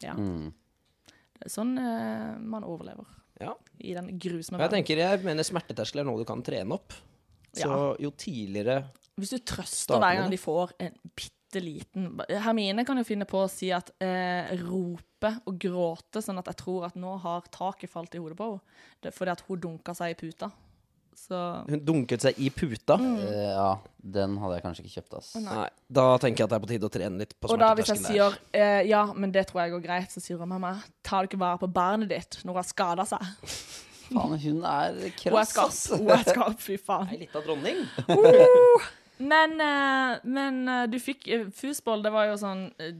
Speaker 1: Ja. Det er sånn eh, man overlever
Speaker 2: Ja.
Speaker 1: i den grusomme
Speaker 2: Og Jeg
Speaker 1: verden.
Speaker 2: tenker, jeg mener smerteterskel er noe du kan trene opp. Så jo tidligere
Speaker 1: Hvis du trøster
Speaker 2: Starter
Speaker 1: hver
Speaker 2: med
Speaker 1: gang
Speaker 2: det.
Speaker 1: de får en bitte liten Hermine kan jo finne på å si at eh, rope og gråte, sånn at jeg tror at nå har taket falt i hodet på henne. Det er Fordi at hun dunka seg i puta. Så
Speaker 2: hun dunket seg i puta
Speaker 1: Mm.
Speaker 3: Eh, ja, den hadde jeg kanskje ikke kjøpt, ass.
Speaker 2: Nei, Da tenker jeg at det er på tide å trene litt på
Speaker 1: Og da hvis jeg
Speaker 2: smerteterskelen.
Speaker 1: sier eh, ja, men det tror jeg går greit, så sier hun mamma, tar du ikke vare på barnet ditt når hun har skada seg?
Speaker 3: Faen, hun er
Speaker 1: Hun er
Speaker 3: krass,
Speaker 1: skarp.
Speaker 3: ass.
Speaker 1: Hun er skarp, fy faen.
Speaker 2: Ei lita dronning.
Speaker 1: Men, eh, men eh, du fikk eh, Fusball, det var jo sånn eh,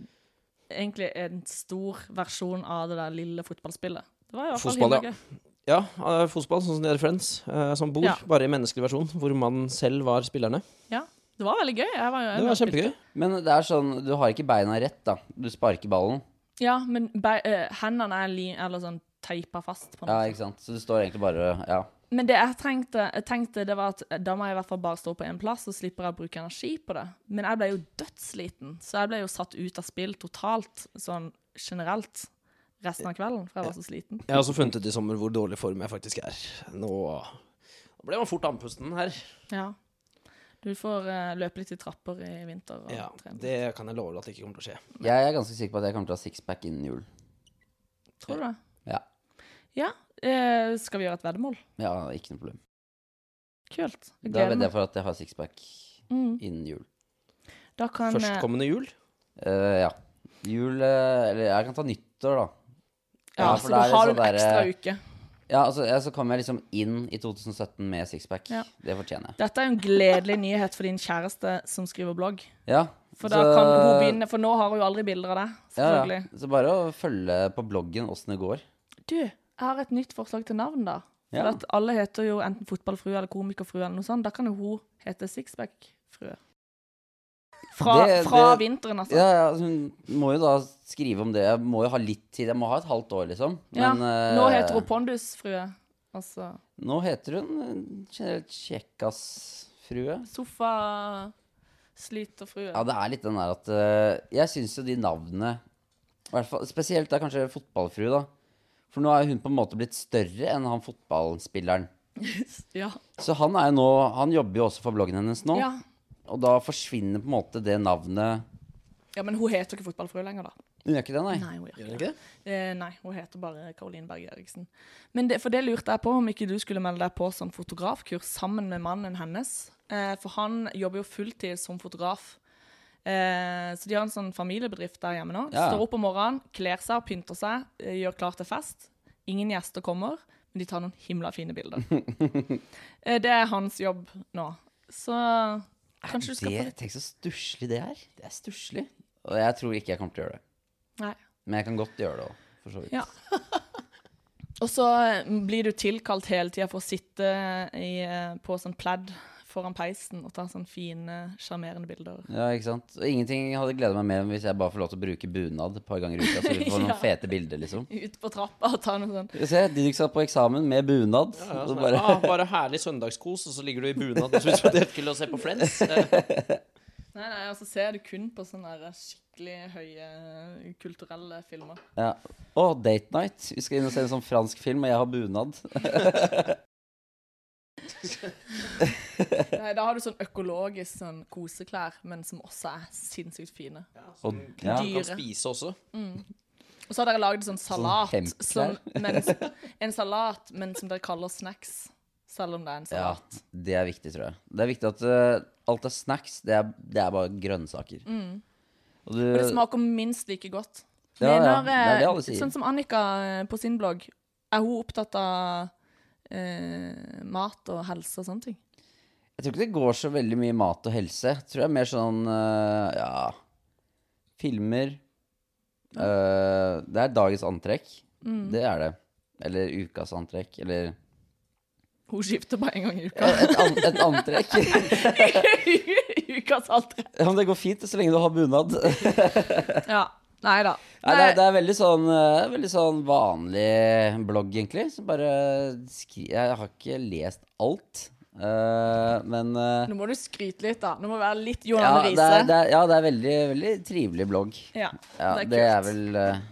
Speaker 1: Egentlig en stor versjon av det der lille fotballspillet. Det var i hvert fall
Speaker 2: Fotball,
Speaker 1: hyggelig.
Speaker 2: Ja, eh, fotball, sånn som det er i Friends. eh, Som bor,
Speaker 1: Ja.
Speaker 2: bare i menneskelig versjon, hvor mannen selv var spillerne.
Speaker 1: Ja. Det var veldig gøy. Jeg var jo
Speaker 2: Det var kjempegøy.
Speaker 3: Men det er sånn, du har ikke beina rett, da. Du sparker ballen.
Speaker 1: Ja, men be, eh, hendene er li, eller sånn teipa fast. på
Speaker 3: Ja,
Speaker 1: noe.
Speaker 3: ikke sant? Så du står egentlig bare Ja.
Speaker 1: Men det jeg trengte, jeg tenkte, det var at eh, da må jeg i hvert fall bare stå på én plass, så slipper jeg å bruke energi på det. Men jeg ble jo dødsliten, så jeg ble jo satt ut av spill totalt, sånn generelt, resten av kvelden, for jeg var så sliten.
Speaker 2: Jeg har også funnet ut i sommer hvor dårlig form jeg faktisk er. Nå Nå ble man fort andpusten her.
Speaker 1: Ja. Du får eh, løpe litt i trapper i vinter og
Speaker 2: Ja,
Speaker 1: trene.
Speaker 2: Det kan jeg love deg at det ikke kommer til å skje.
Speaker 3: Jeg er ganske sikker på at jeg kommer til å ha sixpack innen jul.
Speaker 1: Tror du det?
Speaker 3: Ja.
Speaker 1: Ja. Eh, skal vi gjøre et veddemål?
Speaker 3: Ja, ikke noe problem.
Speaker 1: Kult. Jeg
Speaker 3: Da
Speaker 1: gleder
Speaker 3: vedder
Speaker 1: meg.
Speaker 3: jeg for at jeg har sixpack
Speaker 1: Mm.
Speaker 3: innen jul.
Speaker 1: Da kan eh,
Speaker 2: Førstkommende jul.
Speaker 3: Eh, ja. Jul eh, Eller jeg kan ta nyttår, da.
Speaker 1: Ja,
Speaker 3: ja,
Speaker 1: så
Speaker 3: for da
Speaker 1: da
Speaker 3: er det
Speaker 1: har du en
Speaker 3: sånn der,
Speaker 1: ekstra
Speaker 3: eh,
Speaker 1: uke.
Speaker 3: Ja, altså, ja, Så kommer jeg liksom inn i 2017 med sixpack.
Speaker 1: Ja.
Speaker 3: Det fortjener jeg.
Speaker 1: Dette er jo en gledelig nyhet for din kjæreste som skriver blogg.
Speaker 3: Ja,
Speaker 1: For da
Speaker 3: Så-
Speaker 1: kan hun begynne, for nå har hun jo aldri bilder av deg.
Speaker 3: Ja, ja.
Speaker 1: selvfølgelig.
Speaker 3: Så bare å følge på bloggen åssen det går.
Speaker 1: Du, jeg har et nytt forslag til navn, da. For
Speaker 3: Ja.
Speaker 1: at alle heter jo enten Fotballfrue eller Komikerfrue eller noe sånt. Da kan jo hun hete Sixpack-frue. Fra,
Speaker 3: Det-
Speaker 1: fra
Speaker 3: det-
Speaker 1: vinteren, altså.
Speaker 3: Ja, ja, så hun må jo da skrive om det. Jeg må jo ha litt tid. Jeg må ha et halvt år, liksom.
Speaker 1: Ja,
Speaker 3: Men, eh,
Speaker 1: Nå heter hun Pondusfrue. Altså
Speaker 3: Nå heter hun eh, generelt Kjekkas-frue.
Speaker 1: sofasliterfrue.
Speaker 3: Ja, det er litt den der at eh, Jeg syns jo de navnene i hvert fall, Spesielt er kanskje fotballfrue, da. For nå er hun på en måte blitt større enn han fotballspilleren.
Speaker 1: Ja.
Speaker 3: Så han er jo nå Han jobber jo også for bloggen hennes nå.
Speaker 1: Ja.
Speaker 3: Og da forsvinner på en måte det navnet
Speaker 1: ja, men hun heter ikke Fotballfrue lenger, da.
Speaker 3: Hun gjør ikke det, nei?
Speaker 1: Nei, hun gjør
Speaker 2: Gjør
Speaker 1: ikke
Speaker 2: den
Speaker 1: det.
Speaker 2: ikke det?
Speaker 1: Eh, nei, hun heter bare Karoline Berg Eriksen. Men det, for det lurte jeg på om ikke du skulle melde deg på sånn fotografkurs sammen med mannen hennes. Eh, for han jobber jo fulltid som fotograf. Eh, så de har en sånn familiebedrift der hjemme nå.
Speaker 3: Ja.
Speaker 1: Står opp om morgenen, kler seg og pynter seg, eh, gjør klar til fest. Ingen gjester kommer, men de tar noen himla fine bilder. eh, det er hans jobb nå. Så kanskje du skal
Speaker 3: Det,
Speaker 1: få litt
Speaker 3: tenk så stusslig det er. Det er stusslig. Og jeg tror ikke jeg kommer til å gjøre det.
Speaker 1: Nei.
Speaker 3: Men jeg kan godt gjøre det òg, for så vidt.
Speaker 1: Ja. Og så mm, blir du tilkalt hele tida for å sitte i, på sånn pledd foran peisen og ta sånne fine, sjarmerende bilder.
Speaker 3: Ja, ikke sant? Og ingenting hadde gleda meg mer enn hvis jeg bare får lov til å bruke bunad et par ganger i uka. Så vi får noen
Speaker 1: Ja.
Speaker 3: fete bilder, liksom.
Speaker 1: Ut på trappa og ta noe sånn.
Speaker 3: Se, Didrik satt på eksamen med bunad.
Speaker 2: Ja, ja,
Speaker 3: og
Speaker 2: sånn,
Speaker 3: bare,
Speaker 2: ah, bare herlig søndagskos, og så ligger du i bunad og så ut som det til å se på Friends. Eh,
Speaker 1: Nei, nei, altså ser du kun på sånne der skikkelig høye kulturelle filmer.
Speaker 3: ja. Å, date night. Vi skal inn og se en sånn fransk film, og jeg har bunad.
Speaker 1: Nei, da har du sånn økologisk sånn koseklær, men som også er sinnssykt fine.
Speaker 3: Og, ja.
Speaker 2: Du kan
Speaker 1: Dyre.
Speaker 2: spise også.
Speaker 1: Og så har dere lagd sånn salat,
Speaker 3: hempklær.
Speaker 1: som, men, en salat, men som dere kaller snacks. Selv om det er en
Speaker 3: ja,
Speaker 1: salat.
Speaker 3: det er viktig, tror jeg. Det er viktig at eh, alt er snacks. Det er, det er bare grønnsaker. Og du,
Speaker 1: Og det smaker minst like godt.
Speaker 3: Ja, ja.
Speaker 1: Mener,
Speaker 3: Det er det alle
Speaker 1: eh,
Speaker 3: sier.
Speaker 1: Sånn som Annika eh, på sin blogg, er hun opptatt av eh, mat og helse og sånne ting?
Speaker 3: Jeg tror ikke det går så veldig mye mat og helse. Jeg tror det er mer sånn eh, ja Filmer. Eh, det er dagens antrekk. Det er det. Eller ukas antrekk. Eller
Speaker 1: Hun skifter bare en gang i uka.
Speaker 3: et, an et antrekk.
Speaker 1: Ukas altre.
Speaker 3: ja, men det går fint så lenge du har bunad. Nei,
Speaker 1: Ja. Nei da.
Speaker 3: det, er, det er veldig sånn, eh, veldig sånn vanlig blogg, egentlig. Som bare skri Jeg har ikke lest alt. eh, men eh,
Speaker 1: Nå må du skryte litt, da. Nå må du være litt Jon
Speaker 3: ja,
Speaker 1: Arne
Speaker 3: det er,
Speaker 1: Riise.
Speaker 3: det er, ja, det er veldig, veldig trivelig blogg.
Speaker 1: Ja, det
Speaker 3: Ja,
Speaker 1: er
Speaker 3: det er
Speaker 1: kult.
Speaker 3: vel eh,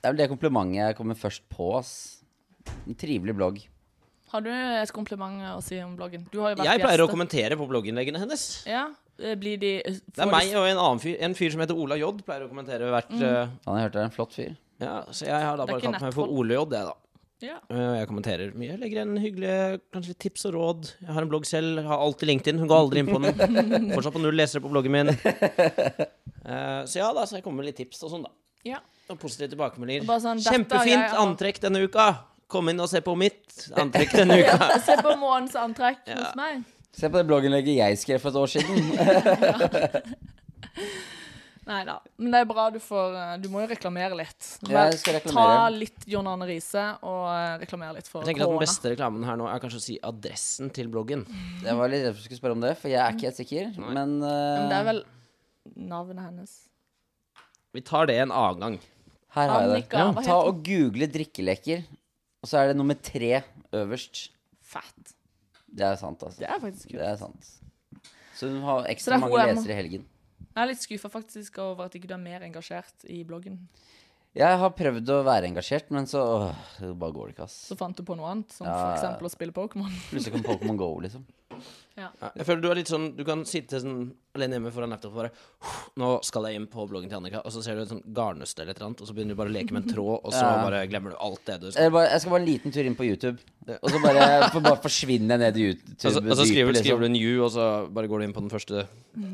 Speaker 3: Det er vel det komplimentet jeg kommer først på, ass. En trivelig blogg.
Speaker 1: Har du et kompliment å si om bloggen? Du har jo vært
Speaker 2: Jeg pleier å
Speaker 1: gjest.
Speaker 2: kommentere på blogginnleggene hennes.
Speaker 1: Ja. eh, Blir de
Speaker 2: Det er meg og en annen fyr, en fyr som heter Ola J, pleier å kommentere hvert eh,
Speaker 3: Han jeg hørte er en flott fyr.
Speaker 2: Ja, så jeg har
Speaker 1: Mm. Det
Speaker 2: da
Speaker 1: er
Speaker 2: bare
Speaker 1: ikke
Speaker 2: kalt meg for
Speaker 1: nettroll.
Speaker 2: Ole J, jeg, da.
Speaker 1: Ja.
Speaker 2: Eh, Jeg kommenterer mye. Jeg legger igjen hyggelige kanskje litt tips og råd. Jeg har en blogg selv. Har alltid LinkedIn. Hun går aldri inn på den. Fortsatt på null lesere på bloggen min. Eh, Så ja da, så jeg kommer med litt tips og sånn, da.
Speaker 1: ja.
Speaker 2: Og positive tilbakemeldinger.
Speaker 1: Bare sånn, dette har
Speaker 2: Kjempefint
Speaker 1: jeg-
Speaker 2: antrekk denne uka! Kom inn og se på mitt antrekk denne uka.
Speaker 1: Se på månens antrekk hos meg.
Speaker 3: Se på det blogginnlegget jeg skrev for et år siden.
Speaker 1: Nei da. Men det er bra du får eh, Du må jo reklamere litt.
Speaker 3: Ja, jeg skal reklamere.
Speaker 1: Ta litt John Arne Riise og eh, reklamere litt for
Speaker 2: Jeg tenker at Den
Speaker 1: korona.
Speaker 2: beste reklamen her nå er kanskje å si adressen til bloggen.
Speaker 3: Jeg var litt redd for at du skulle spørre om det, for jeg er ikke helt sikker. Men, eh,
Speaker 1: Men det er vel navnet hennes.
Speaker 2: Vi tar det en annen gang.
Speaker 3: her har jeg det.
Speaker 1: Annika, hva
Speaker 3: Ta
Speaker 1: heter
Speaker 3: og google drikkeleker, og så er det nummer tre øverst.
Speaker 1: Fett.
Speaker 3: Det er sant, altså.
Speaker 1: Det er faktisk
Speaker 3: Det
Speaker 1: kult.
Speaker 3: er sant. Så hun har
Speaker 1: Så det
Speaker 3: ekstra
Speaker 1: er
Speaker 3: mange
Speaker 1: HM.
Speaker 3: lesere i helgen.
Speaker 1: Jeg er litt skuffa faktisk over at ikke du er mer engasjert i bloggen.
Speaker 3: Jeg har prøvd å være engasjert, men så åh, det bare går det ikke, ass.
Speaker 1: Så fant du på noe annet, som
Speaker 3: Ja, ja.
Speaker 1: f.eks. å spille Pokémon.
Speaker 3: Plutselig kom Pokémon Go, liksom.
Speaker 2: Ja, Jeg føler Du er litt sånn Du kan sitte sånn alene hjemme foran laptop og bare «Huff, Nå skal jeg inn på bloggen til Annika, og så ser du et sånn garnnøste eller et eller annet, og så begynner du bare å leke med en tråd, og så
Speaker 3: Ja.
Speaker 2: bare glemmer du alt det du skal
Speaker 3: Jeg, bare, jeg skal bare en liten tur inn på YouTube, og så bare, for bare forsvinner jeg ned i YouTube.
Speaker 2: Og så, og så skriver,
Speaker 1: liksom.
Speaker 3: dypet, liksom.
Speaker 2: skriver du en U, og så bare går du inn på den første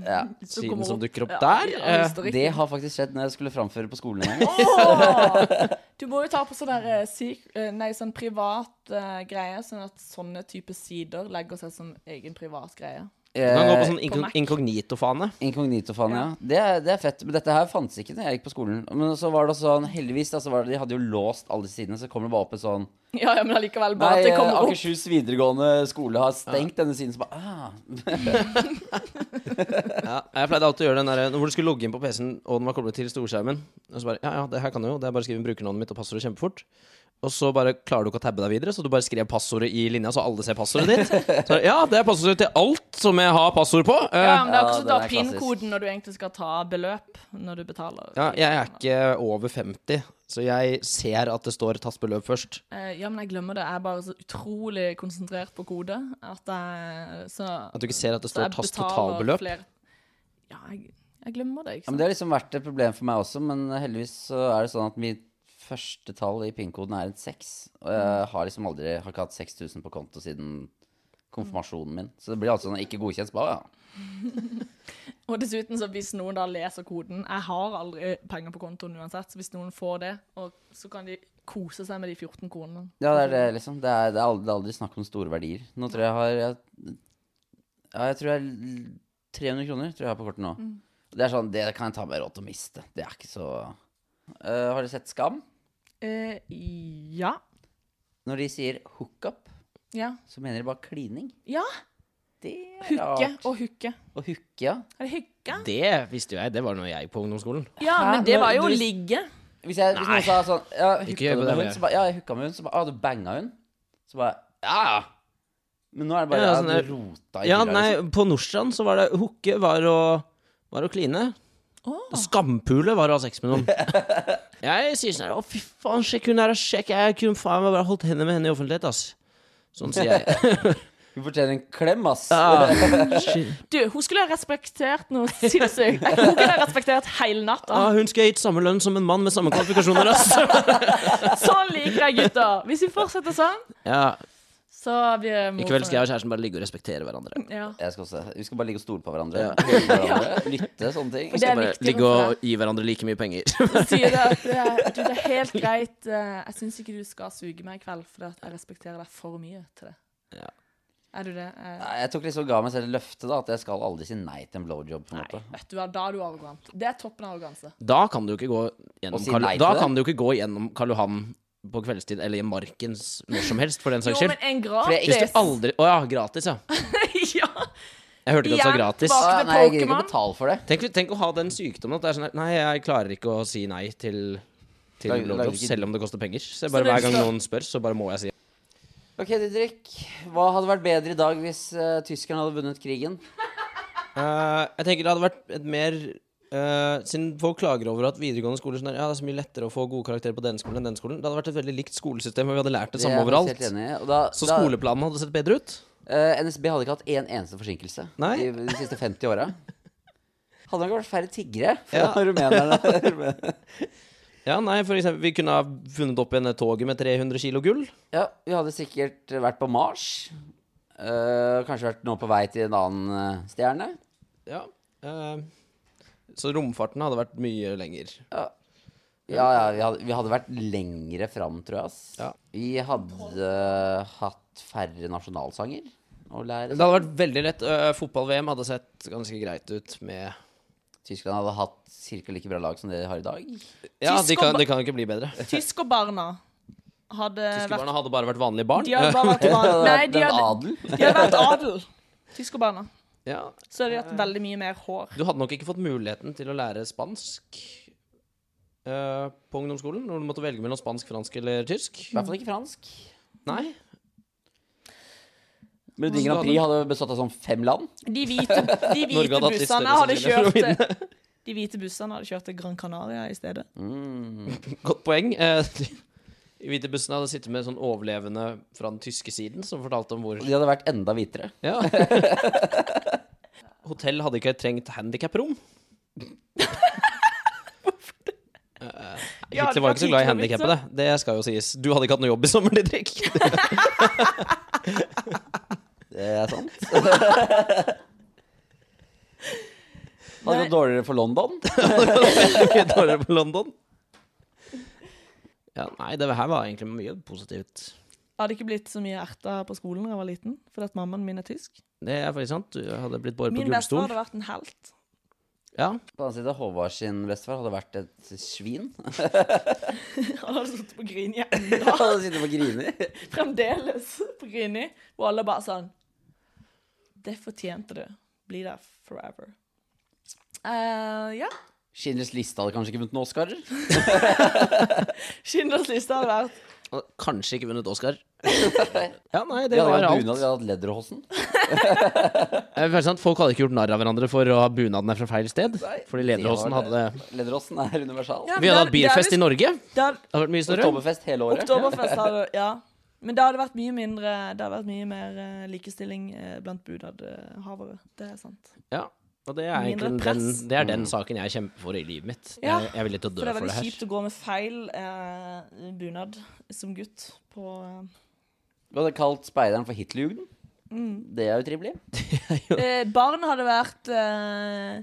Speaker 3: Ja.
Speaker 1: Så
Speaker 2: siden
Speaker 1: kommer
Speaker 2: som
Speaker 1: opp-
Speaker 2: dukker opp
Speaker 1: Ja,
Speaker 2: der.
Speaker 1: ja,
Speaker 2: Eh,
Speaker 1: historikk.
Speaker 3: Det har faktisk skjedd når jeg skulle framføre på skolen en gang.
Speaker 1: Åh! Du må jo ta på sånn der, eh, sik- eh, nei, sånn privat eh, greie, sånn at sånne type sider legger seg som egen privat greie.
Speaker 2: Du kan gå på
Speaker 3: Eh,
Speaker 2: sånn
Speaker 1: På Mac.
Speaker 2: inkog- inkognito-fane.
Speaker 3: Inkognito-fan, ja. Det, er- det er fett. Men dette her fantes ikke når jeg gikk på skolen. Men så var det sånn, heldigvis, da, så var det, de hadde jo låst alle sidene, så kommer det bare opp en sånn
Speaker 1: Ja, ja, men allikevel, bare
Speaker 3: Nei,
Speaker 1: at det
Speaker 3: eh,
Speaker 1: kommer opp.
Speaker 3: Akershus videregående skole har stengt denne siden, så bare ah.
Speaker 2: Ja, jeg pleide alltid å gjøre den der Når du skulle logge inn på PC-en, og den var koblet til storskjermen Og så bare Ja, ja, det her kan jeg jo. Det er bare å skrive inn brukernavnet mitt og passordet kjempefort. Og så bare klarer du ikke å tabbe deg videre, så du bare skrev passordet i linja, så alle ser passordet ditt. Så, ja, det er passordet til alt som jeg har passord på. Eh,
Speaker 1: Ja, men det er
Speaker 3: Ja,
Speaker 1: også
Speaker 3: den
Speaker 1: da
Speaker 3: er klassisk.
Speaker 1: PIN-koden når du egentlig skal ta beløp når du betaler.
Speaker 2: ja, jeg er ikke over 50, så jeg ser at det står tatt beløp først.
Speaker 1: Eh, Ja, men jeg glemmer det. Jeg er bare så utrolig konsentrert på kode at jeg så,
Speaker 2: At du ikke ser at det
Speaker 1: så jeg
Speaker 2: står tatt
Speaker 1: betaler
Speaker 2: totalbeløp.
Speaker 1: flere- Ja, jeg, jeg glemmer det, ikke
Speaker 3: Ja, men
Speaker 1: sant.
Speaker 3: det har liksom vært et problem for meg også, men heldigvis så er det sånn at mitt første tall i PIN-koden er en 6. Og
Speaker 1: Mm.
Speaker 3: jeg har liksom aldri har ikke hatt 6000 på konto siden konfirmasjonen min. Så det blir altså sånn ikke godkjent. så Bare, ja.
Speaker 1: Og dessuten, så hvis noen da leser koden Jeg har aldri penger på kontoen uansett, så hvis noen får det, og så kan de kose seg med de 14 kronene.
Speaker 3: ja, det er det, liksom. Det er, det er aldri, det er aldri snakk om store verdier. Nå tror jeg jeg har jeg, Ja, jeg tror jeg 300 kroner tror jeg har på kortet nå.
Speaker 1: Mm.
Speaker 3: Og Det er sånn, det kan jeg ta meg råd til å miste. Det er ikke så Eh, Har dere sett Skam?
Speaker 1: Eh, ja.
Speaker 3: Når de sier hookup,
Speaker 1: Ja.
Speaker 3: så mener de bare klining.
Speaker 1: ja.
Speaker 3: Det er
Speaker 1: Hooke
Speaker 3: rart.
Speaker 1: og hooke.
Speaker 3: Og hooke, ja.
Speaker 1: Er det hooke?
Speaker 2: Det visste jo jeg. Det var når jeg gikk på ungdomsskolen.
Speaker 1: Ja,
Speaker 3: Hæ?
Speaker 1: men det var
Speaker 3: Nå-
Speaker 1: jo
Speaker 3: du-
Speaker 1: ligge.
Speaker 3: Hvis, jeg, hvis noen sa sånn ja,
Speaker 2: Ikke
Speaker 3: hooka
Speaker 2: gjør på
Speaker 3: du med
Speaker 2: det,
Speaker 3: hun,
Speaker 2: jeg.
Speaker 3: så bare, Ja, jeg hooka med hun. Så bare Ja, du banga hun? Så bare Ja, ja. Men nå er det bare
Speaker 2: Ja,
Speaker 3: Ja,
Speaker 2: sånn der-
Speaker 3: du rota i
Speaker 2: Ja,
Speaker 3: fylla,
Speaker 2: nei,
Speaker 3: liksom.
Speaker 2: på Nordstrand så var det hooke var å, var å kline. Og Skampule var å ha sex med noen. Jeg sier sånn her, Å, fy faen, sjekk hun her, sjekk. Jeg kunne faen meg bare holdt henne med henne i offentlighet, ass. Sånn sier jeg.
Speaker 3: Hun fortjener en klem, ass.
Speaker 2: Ah, shit.
Speaker 1: Du, hun skulle ha respektert noe sinnssykt. Hun kunne ha respektert hele natta.
Speaker 2: ah, hun skulle ha gitt samme lønn som en mann med samme kvalifikasjoner, ass.
Speaker 1: Sånn liker jeg gutter. Hvis vi fortsetter sånn,
Speaker 2: Ja,
Speaker 1: så blir jeg
Speaker 2: I kveld skal jeg og kjæresten bare ligge og respektere hverandre.
Speaker 1: Ja.
Speaker 3: Jeg skal også Vi skal bare ligge og stole på hverandre. høre på hverandre Lytte, sånne ting.
Speaker 1: For det- er
Speaker 2: Skal bare
Speaker 1: viktig
Speaker 2: ligge
Speaker 1: for
Speaker 2: og gi hverandre like mye penger.
Speaker 1: Hun sier det at det er, du, det er helt greit. eh, Jeg syns ikke du skal suge meg i kveld, for jeg respekterer deg for mye til det.
Speaker 2: Ja.
Speaker 1: Er du det? Eh,
Speaker 3: Nei, Jeg tok liksom ga meg selv et løfte, da, at jeg skal aldri si nei til en blowjob. på en måte
Speaker 1: Vet du hva, da er du arrogant. Det er toppen av arroganse.
Speaker 2: Da kan du ikke gå gjennom,
Speaker 3: Og si
Speaker 2: Karl,
Speaker 3: nei til
Speaker 2: da
Speaker 3: det.
Speaker 2: kan du ikke gå gjennom Karl Johan på kveldstid, eller i Markens når som helst, for den
Speaker 1: Jo,
Speaker 2: saks skyld.
Speaker 1: men en
Speaker 2: Hvis
Speaker 1: gratis!
Speaker 2: du aldri Å ja, gratis, ja.
Speaker 1: ja.
Speaker 2: Jeg hørte ikke at det var
Speaker 1: Igjen,
Speaker 2: gratis.
Speaker 1: tilbake.
Speaker 3: ah,
Speaker 1: til
Speaker 3: Nei, jeg gidder ikke
Speaker 1: Pokémon.
Speaker 3: å betale for det.
Speaker 2: Tenk, tenk å ha den sykdommen at det er sånn her, Nei, jeg klarer ikke å si nei til til
Speaker 3: Lager- lager
Speaker 2: blowjobs,
Speaker 3: ikke-
Speaker 2: selv om det koster penger. Så jeg bare
Speaker 1: det er
Speaker 2: Hver gang
Speaker 1: så-
Speaker 2: noen spør, så bare må jeg si
Speaker 3: Ok, Didrik. Hva hadde vært bedre i dag hvis eh, tyskerne hadde vunnet krigen?
Speaker 2: Eh, Jeg tenker det hadde vært et mer eh, Siden folk klager over at videregående skoler sånn der, Ja, det er så mye lettere å få gode karakterer på denne skolen enn den skolen. Det hadde vært et veldig likt skolesystem, og vi hadde lært det
Speaker 3: Jeg
Speaker 2: samme
Speaker 3: er faktisk
Speaker 2: overalt.
Speaker 3: helt enig i. Og da-
Speaker 2: Så
Speaker 3: da-
Speaker 2: skoleplanen hadde sett bedre ut.
Speaker 3: Eh, NSB hadde ikke hatt én eneste forsinkelse
Speaker 2: Nei.
Speaker 3: i de siste 50 åra. Hadde nok vært færre tiggere fra
Speaker 2: Ja.
Speaker 3: rumenerne.
Speaker 2: Ja, nei, for eksempel, vi kunne ha funnet opp igjen det toget med 300 kilo gull.
Speaker 3: ja, vi hadde sikkert vært på Mars. Eh, kanskje vært nå på vei til en annen eh, stjerne.
Speaker 2: Ja. eh, så romfarten hadde vært mye lenger.
Speaker 3: Ja, ja, vi hadde, vi hadde vært lengre fram, tror jeg. Ass.
Speaker 2: Ja.
Speaker 3: Vi hadde hatt færre nasjonalsanger å lære.
Speaker 2: Det hadde vært veldig lett. eh, Fotball-VM hadde sett ganske greit ut med
Speaker 3: Tyskland hadde hatt ca. like bra lag som det de har i dag.
Speaker 2: Ja,
Speaker 1: Tysk Eh,
Speaker 2: det
Speaker 1: og
Speaker 2: kan,
Speaker 1: ba-
Speaker 2: det kan jo ikke bli bedre.
Speaker 1: Tyskerbarna hadde vært
Speaker 2: Tyskerbarna hadde bare vært vanlige barn. Eh,
Speaker 1: De hadde bare vært van... Nei, de
Speaker 3: Den
Speaker 1: hadde,
Speaker 3: adel.
Speaker 1: de hadde vært adel. Tyskerbarna.
Speaker 2: Ja.
Speaker 1: Så hadde de hatt veldig mye mer hår.
Speaker 2: Du hadde nok ikke fått muligheten til å lære spansk eh, på ungdomsskolen, når du måtte velge mellom spansk, fransk eller tysk.
Speaker 3: I hvert fall ikke fransk.
Speaker 2: Nei.
Speaker 3: Melodi Grand Prix hadde bestått av sånn fem land.
Speaker 1: De hvite, de hvite
Speaker 2: Norge hadde hatt litt
Speaker 1: bussene
Speaker 2: større
Speaker 1: hadde
Speaker 2: sannsynlighet
Speaker 1: kjørt
Speaker 2: for å vinne.
Speaker 1: til De hvite bussene hadde kjørt til Gran Canaria i stedet.
Speaker 2: Godt poeng. Eh, de hvite bussene hadde sittet med sånn overlevende fra den tyske siden som fortalte om hvor
Speaker 3: De hadde vært enda hvitere.
Speaker 2: Ja. Hotell hadde ikke trengt handikaprom.
Speaker 1: Ja, det
Speaker 2: Hitler Eh, var ikke så glad
Speaker 1: kan
Speaker 2: i
Speaker 1: ikke
Speaker 2: handikappede. Det skal jo sies. Du hadde ikke hatt noe jobb i sommer, Didrik.
Speaker 3: Det er sant. Hadde gått dårligere for London.
Speaker 2: Mye dårligere på London. Ja, nei, det her var egentlig mye positivt.
Speaker 1: hadde ikke blitt så mye erta på skolen da jeg var liten, fordi at mammaen min er tysk.
Speaker 2: Det er faktisk sant. Du hadde blitt båret på
Speaker 1: Min bestefar
Speaker 2: gullstol.
Speaker 1: hadde vært en helt.
Speaker 2: Ja.
Speaker 3: På den annen side, Håvard sin bestefar hadde vært et svin.
Speaker 1: Han hadde sittet på Grini
Speaker 3: Han
Speaker 1: enda,
Speaker 3: hadde sittet og grinet.
Speaker 1: fremdeles på Grini, og alle bare sånn Det fortjente du. Bli der forever. Eh, ja.
Speaker 3: Schindlers liste hadde kanskje ikke vunnet noen Oscarer.
Speaker 1: Schindlers liste hadde vært
Speaker 2: Og Kanskje ikke vunnet Oscar. Ja, nei,
Speaker 3: Vi
Speaker 2: det
Speaker 3: hadde
Speaker 2: var
Speaker 3: hatt
Speaker 2: alt.
Speaker 3: bunad, vi hadde hatt Lederhosen.
Speaker 2: Det er faktisk sant, Folk hadde ikke gjort narr av hverandre for å ha bunadene fra feil sted. Fordi Lederåsen hadde
Speaker 3: Lederhosen er universal.
Speaker 1: Ja,
Speaker 2: Vi hadde
Speaker 1: det-
Speaker 2: hatt bierfest
Speaker 1: det
Speaker 2: i
Speaker 1: er
Speaker 2: Norge.
Speaker 1: Det hadde,
Speaker 2: Det hadde vært mye større.
Speaker 3: Oktoberfest hele året.
Speaker 1: Oktoberfest hadde Ja. Men det hadde vært mye mindre Det hadde vært mye mer eh, likestilling eh, blant bunadhavere. Det er sant.
Speaker 2: Ja, og det er,
Speaker 1: Mindre
Speaker 2: egentlig den,
Speaker 1: press.
Speaker 2: det er den saken jeg kjemper for i livet mitt.
Speaker 1: Ja,
Speaker 2: Jeg, jeg er villig til å
Speaker 1: For
Speaker 2: dø
Speaker 1: det er
Speaker 2: for det
Speaker 1: veldig
Speaker 2: her.
Speaker 1: kjipt å gå med feil eh, bunad som gutt på eh,
Speaker 3: Vi hadde kalt speideren for Hitlerjugend.
Speaker 2: Mm.
Speaker 3: Det er jo trivelig.
Speaker 1: eh, Barn hadde vært eh,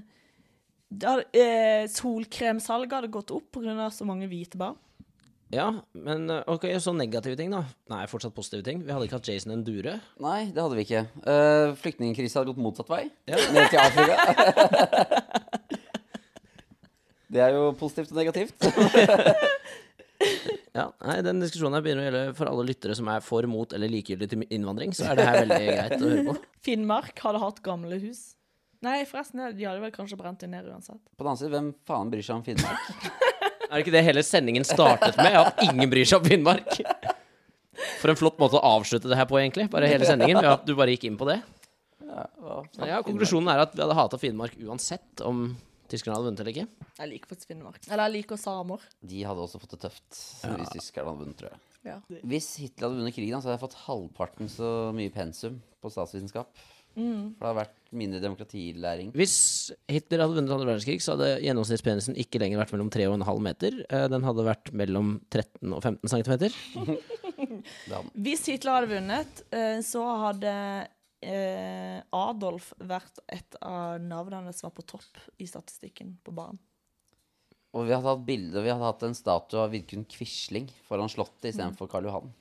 Speaker 1: det hadde, eh, Solkremsalget hadde gått opp pga. så mange hvite barn.
Speaker 2: Ja, men eh, ok, så negative ting, da. Nei, fortsatt positive ting. Vi hadde ikke hatt Jason Endure.
Speaker 3: Nei, det hadde vi ikke. Uh, Flyktningkrisa hadde gått motsatt vei.
Speaker 2: Ja.
Speaker 3: Ned til Afrika. det er jo positivt og negativt.
Speaker 2: Ja, nei, Den diskusjonen her begynner å gjelde for alle lyttere som er for, mot eller likegyldig til innvandring. Så er det her veldig greit å høre på.
Speaker 1: Finnmark hadde hatt gamle hus. Nei, forresten, de hadde vel kanskje brent det ned uansett.
Speaker 3: På den annen side, hvem faen bryr seg om Finnmark?
Speaker 2: Er det ikke det hele sendingen startet med? At ingen bryr seg om Finnmark? For en flott måte å avslutte det her på, egentlig. Bare hele sendingen. Ved at du bare gikk inn på det. Men ja, konklusjonen er at vi hadde hata Finnmark uansett om tyskerne hadde vunnet eller ikke.
Speaker 1: Jeg liker faktisk Finnmark. Eller jeg liker samer.
Speaker 3: De hadde også fått det tøft hvis tyskerne hadde vunnet, tror jeg.
Speaker 1: Ja.
Speaker 3: Hvis Hitler hadde vunnet krigen, så hadde jeg fått halvparten så mye pensum på statsvitenskap.
Speaker 2: Mm.
Speaker 3: For det hadde vært mindre demokratilæring.
Speaker 2: Hvis Hitler hadde vunnet andre verdenskrig, så hadde gjennomsnittspenisen ikke lenger vært mellom 3,5 meter. Eh, Den hadde vært mellom 13 og 15 centimeter.
Speaker 1: Hvis Hitler hadde vunnet, eh, så hadde eh, Adolf vært et av navnene som var på topp i statistikken på barn.
Speaker 3: Og vi hadde hatt bilder, vi hadde hatt en statue av Vidkun Quisling foran Slottet istedenfor Karl Johan.